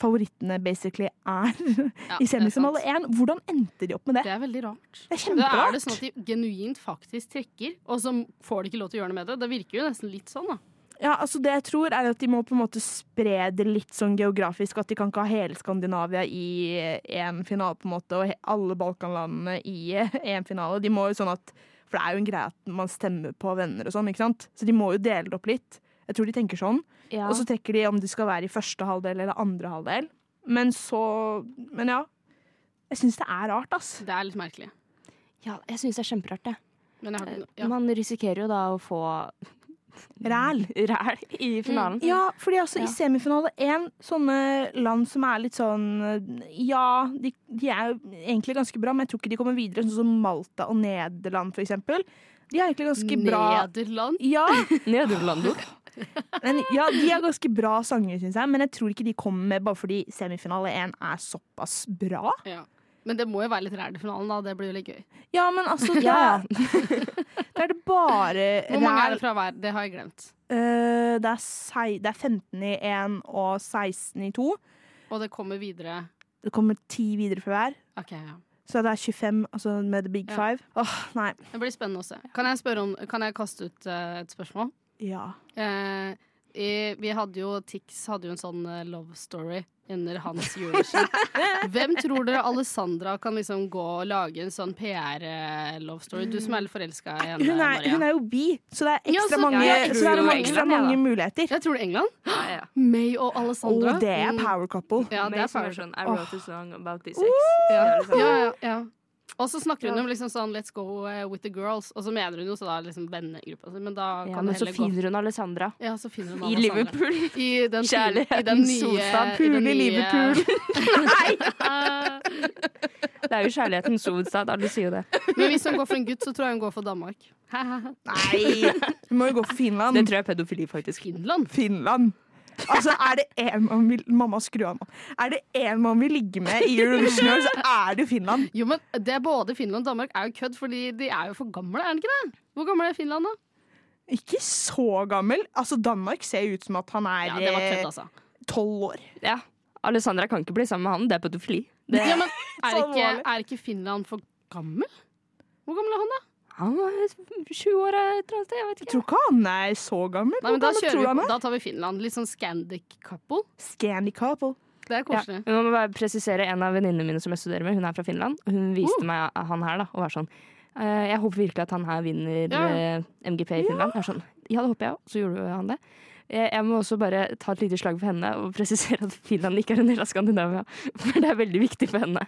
B: favorittene basically er i semifinale én. Hvordan endte de opp med det?
D: Det er veldig
B: Det
D: rart.
B: er
D: Da er
B: kjemperart.
D: det sånn at de genuint faktisk trekker, og så får de ikke lov til å gjøre noe med det. Det virker jo nesten litt sånn, da.
B: Ja, altså Det jeg tror, er at de må på en måte spre det litt sånn geografisk. At de kan ikke ha hele Skandinavia i én finale, på en måte, og he- alle Balkanlandene i én finale. De må jo sånn at For det er jo en greie at man stemmer på venner og sånn, ikke sant? Så de må jo dele det opp litt. Jeg tror de tenker sånn.
C: Ja.
B: Og så trekker de om de skal være i første halvdel eller andre halvdel. Men så Men ja. Jeg syns det er rart, ass.
D: Det er litt merkelig.
C: Ja, jeg syns det er kjemperart, det.
D: Men jeg har ikke noe-
B: Eh,
D: ja.
C: Man risikerer jo da å få
B: Ræl.
C: Ræl i finalen.
B: Ja,
D: Mm.
B: fordi altså
C: Ja.
B: i semifinale én, sånne land som er litt sånn Ja, de, de er jo egentlig ganske bra, men jeg tror ikke de kommer videre. Sånn som Malta og Nederland, for eksempel. De er egentlig ganske bra
D: Nederland?
B: Ja.
C: Nederland,
B: Men, ja, de har ganske bra sanger, syns jeg, men jeg tror ikke de kommer med bare fordi semifinale én er såpass bra.
D: Ja. Men det må jo være litt ræl i finalen, da. Det blir jo litt gøy.
B: Ja, men altså Da, da er det bare
D: Hvor mange
B: ræl.
D: er det fra hver? Det har jeg glemt.
B: Eh, det, er sei, det er 15 i én og 16 i to.
D: Og det kommer videre.
B: Det kommer ti videre fra hver.
D: Ok, ja.
B: Så det er 25 altså med the big
D: Ja.
B: five. Åh, nei.
D: Det blir spennende å se. Kan jeg, spørre om, kan jeg kaste ut eh, et spørsmål?
B: Ja.
D: Eh, i, vi hadde jo Tix hadde jo en sånn eh, love story under hans Eurovision. Hvem tror dere Alessandra kan liksom gå og lage en sånn PR-love story? Du som er litt forelska i henne,
B: Hun er,
D: Maria.
B: hun er jo bi, så det er
D: Ja,
B: ekstra
D: så-
B: mange,
D: ja, jeg
B: så det
D: tror
B: er mange,
D: England,
B: ekstra
D: ja, da.
B: mange muligheter.
D: Jeg tror det er England. May og Alessandra.
B: Åh, det er
D: Mm.
B: power couple.
D: Ja, det er
C: Amazing
D: power
C: version. I
D: couple.
C: wrote a song about this
D: Ja,
C: ex.
D: ja, ja, ja. Og så snakker hun
C: Ja.
D: om liksom sånn 'let's go eh, with the girls', og så mener hun jo så da er liksom vennegruppa si, men da
C: Ja,
D: kan
C: men
D: det
C: så
D: heller gå
C: finner hun Alessandra.
D: Ja, så finner hun
C: I
D: Alessandra.
C: Liverpool.
D: I den,
C: Kjærligheten,
D: i den nye,
C: solstad.
D: i den
C: Pool i
D: nye-
C: Liverpool. Det er jo kjærlighetens hovedstad. Alle sier jo det.
D: Men hvis hun går for en gutt, så tror jeg hun går for Danmark.
B: Nei, hun må jo gå for Finland.
C: Det tror jeg er pedofili, faktisk.
D: Finland?
B: Finland. Altså, er det én man vil Mamma, skru av nå. Er det én man vil ligge med i Eurovision, i år, så er det jo Finland.
D: Jo, men det er både Finland og Danmark er jo kødd, fordi de er jo for gamle, er de ikke det? Hvor gammel er Finland, da?
B: Ikke så gammel. Altså, Danmark ser jo ut som at han
D: Ja, det var kødd,
B: er eh,
D: altså.
B: tolv år.
C: Ja. Alessandra kan ikke bli sammen med han. Det er pedofili. Det,
D: Ja, men er
B: Så
D: ikke,
B: alvorlig.
D: er ikke Finland for gammel? Hvor gammel er han, da?
C: han var 20 år et eller annet sted. Jeg vet
B: Jeg
C: ikke.
B: tror ikke han er så gammel.
D: Nei, men da,
B: Hvordan
D: kjører
B: tror han
D: vi,
B: er?
D: da tar vi Finland. Litt sånn Scandic couple.
B: Scandic couple.
D: Det er
C: Ja.
D: koselig.
C: Jeg må bare presisere en av venninnene mine som jeg studerer med. Hun er fra Finland. og Hun
D: Oh.
C: viste meg han her da, og var sånn «Eh, Jeg håper virkelig at han her vinner
D: Ja.
C: eh, MGP i Finland. Jeg er sånn, ja, det håper jeg òg. Så gjorde han det. Eh, Jeg må også bare ta et lite slag for henne og presisere at Finland ikke er en del av Skandinavia. For det er veldig viktig for henne.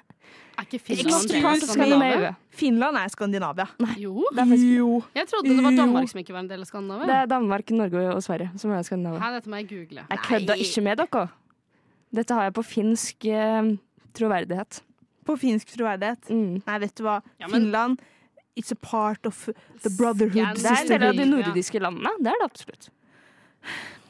D: Er ikke Finland
B: Excuse
D: del av
B: me.
D: Skandinavia?
B: Finland er Skandinavia.
D: Jo.
C: Det er, faktisk,
B: Jo.
D: Jeg trodde det var
B: Jo.
D: Danmark som ikke var en del av
C: det
D: Skandinavia.
C: er Danmark, Norge og Sverige som er Skandinavia.
D: Hæ, dette må jeg google.
C: Jeg kødda ikke med dere. Dette har jeg på finsk eh, troverdighet.
B: På finsk troverdighet.
C: Mm.
B: Nei, vet du hva.
D: Ja, men-
B: Finland It's a part of the brotherhood.
D: Scan-
C: Det er en del av de
D: Ja.
C: nordiske landene. Det er det absolutt.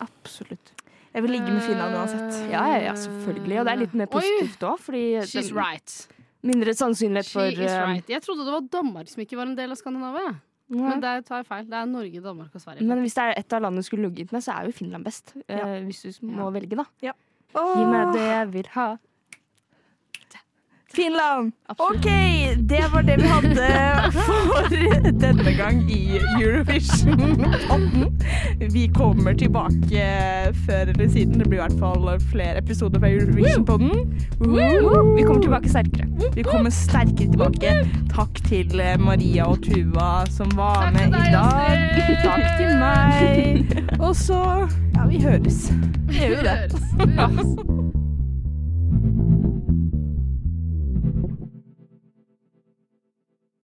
C: Absolutt.
B: Jeg vil ligge med Finland uansett.
C: Eh, Ja, ja, ja, selvfølgelig. Og det er litt mer
D: Oi.
C: positivt òg, fordi
D: She's
C: det-
D: right.
C: mindre sannsynlighet
D: She
C: for
D: is
C: eh,
D: right. Jeg trodde det var Danmark som ikke var en del av Skandinavia.
C: nei.
D: Men der tar jeg feil. Det er Norge, Danmark og Sverige.
C: Men hvis det er et av landene du skulle ligget med, så er jo Finland best. eh, Hvis du s- må velge, da.
B: Ja.
C: Gi meg det jeg vil ha.
B: Finland!
C: Absolutt.
B: OK, det var det vi hadde for denne gang i Eurovision-podden. Vi kommer tilbake før eller siden. Det blir i hvert fall flere episoder fra Eurovision-podden.
C: Vi kommer tilbake sterkere.
B: Vi kommer sterkere tilbake. Takk til eh, Maria og Tuva som var
D: Takk til
B: med i
D: deg,
B: dag.
D: Astrid.
B: Takk til meg. Og så Ja, vi høres.
D: det gjør det.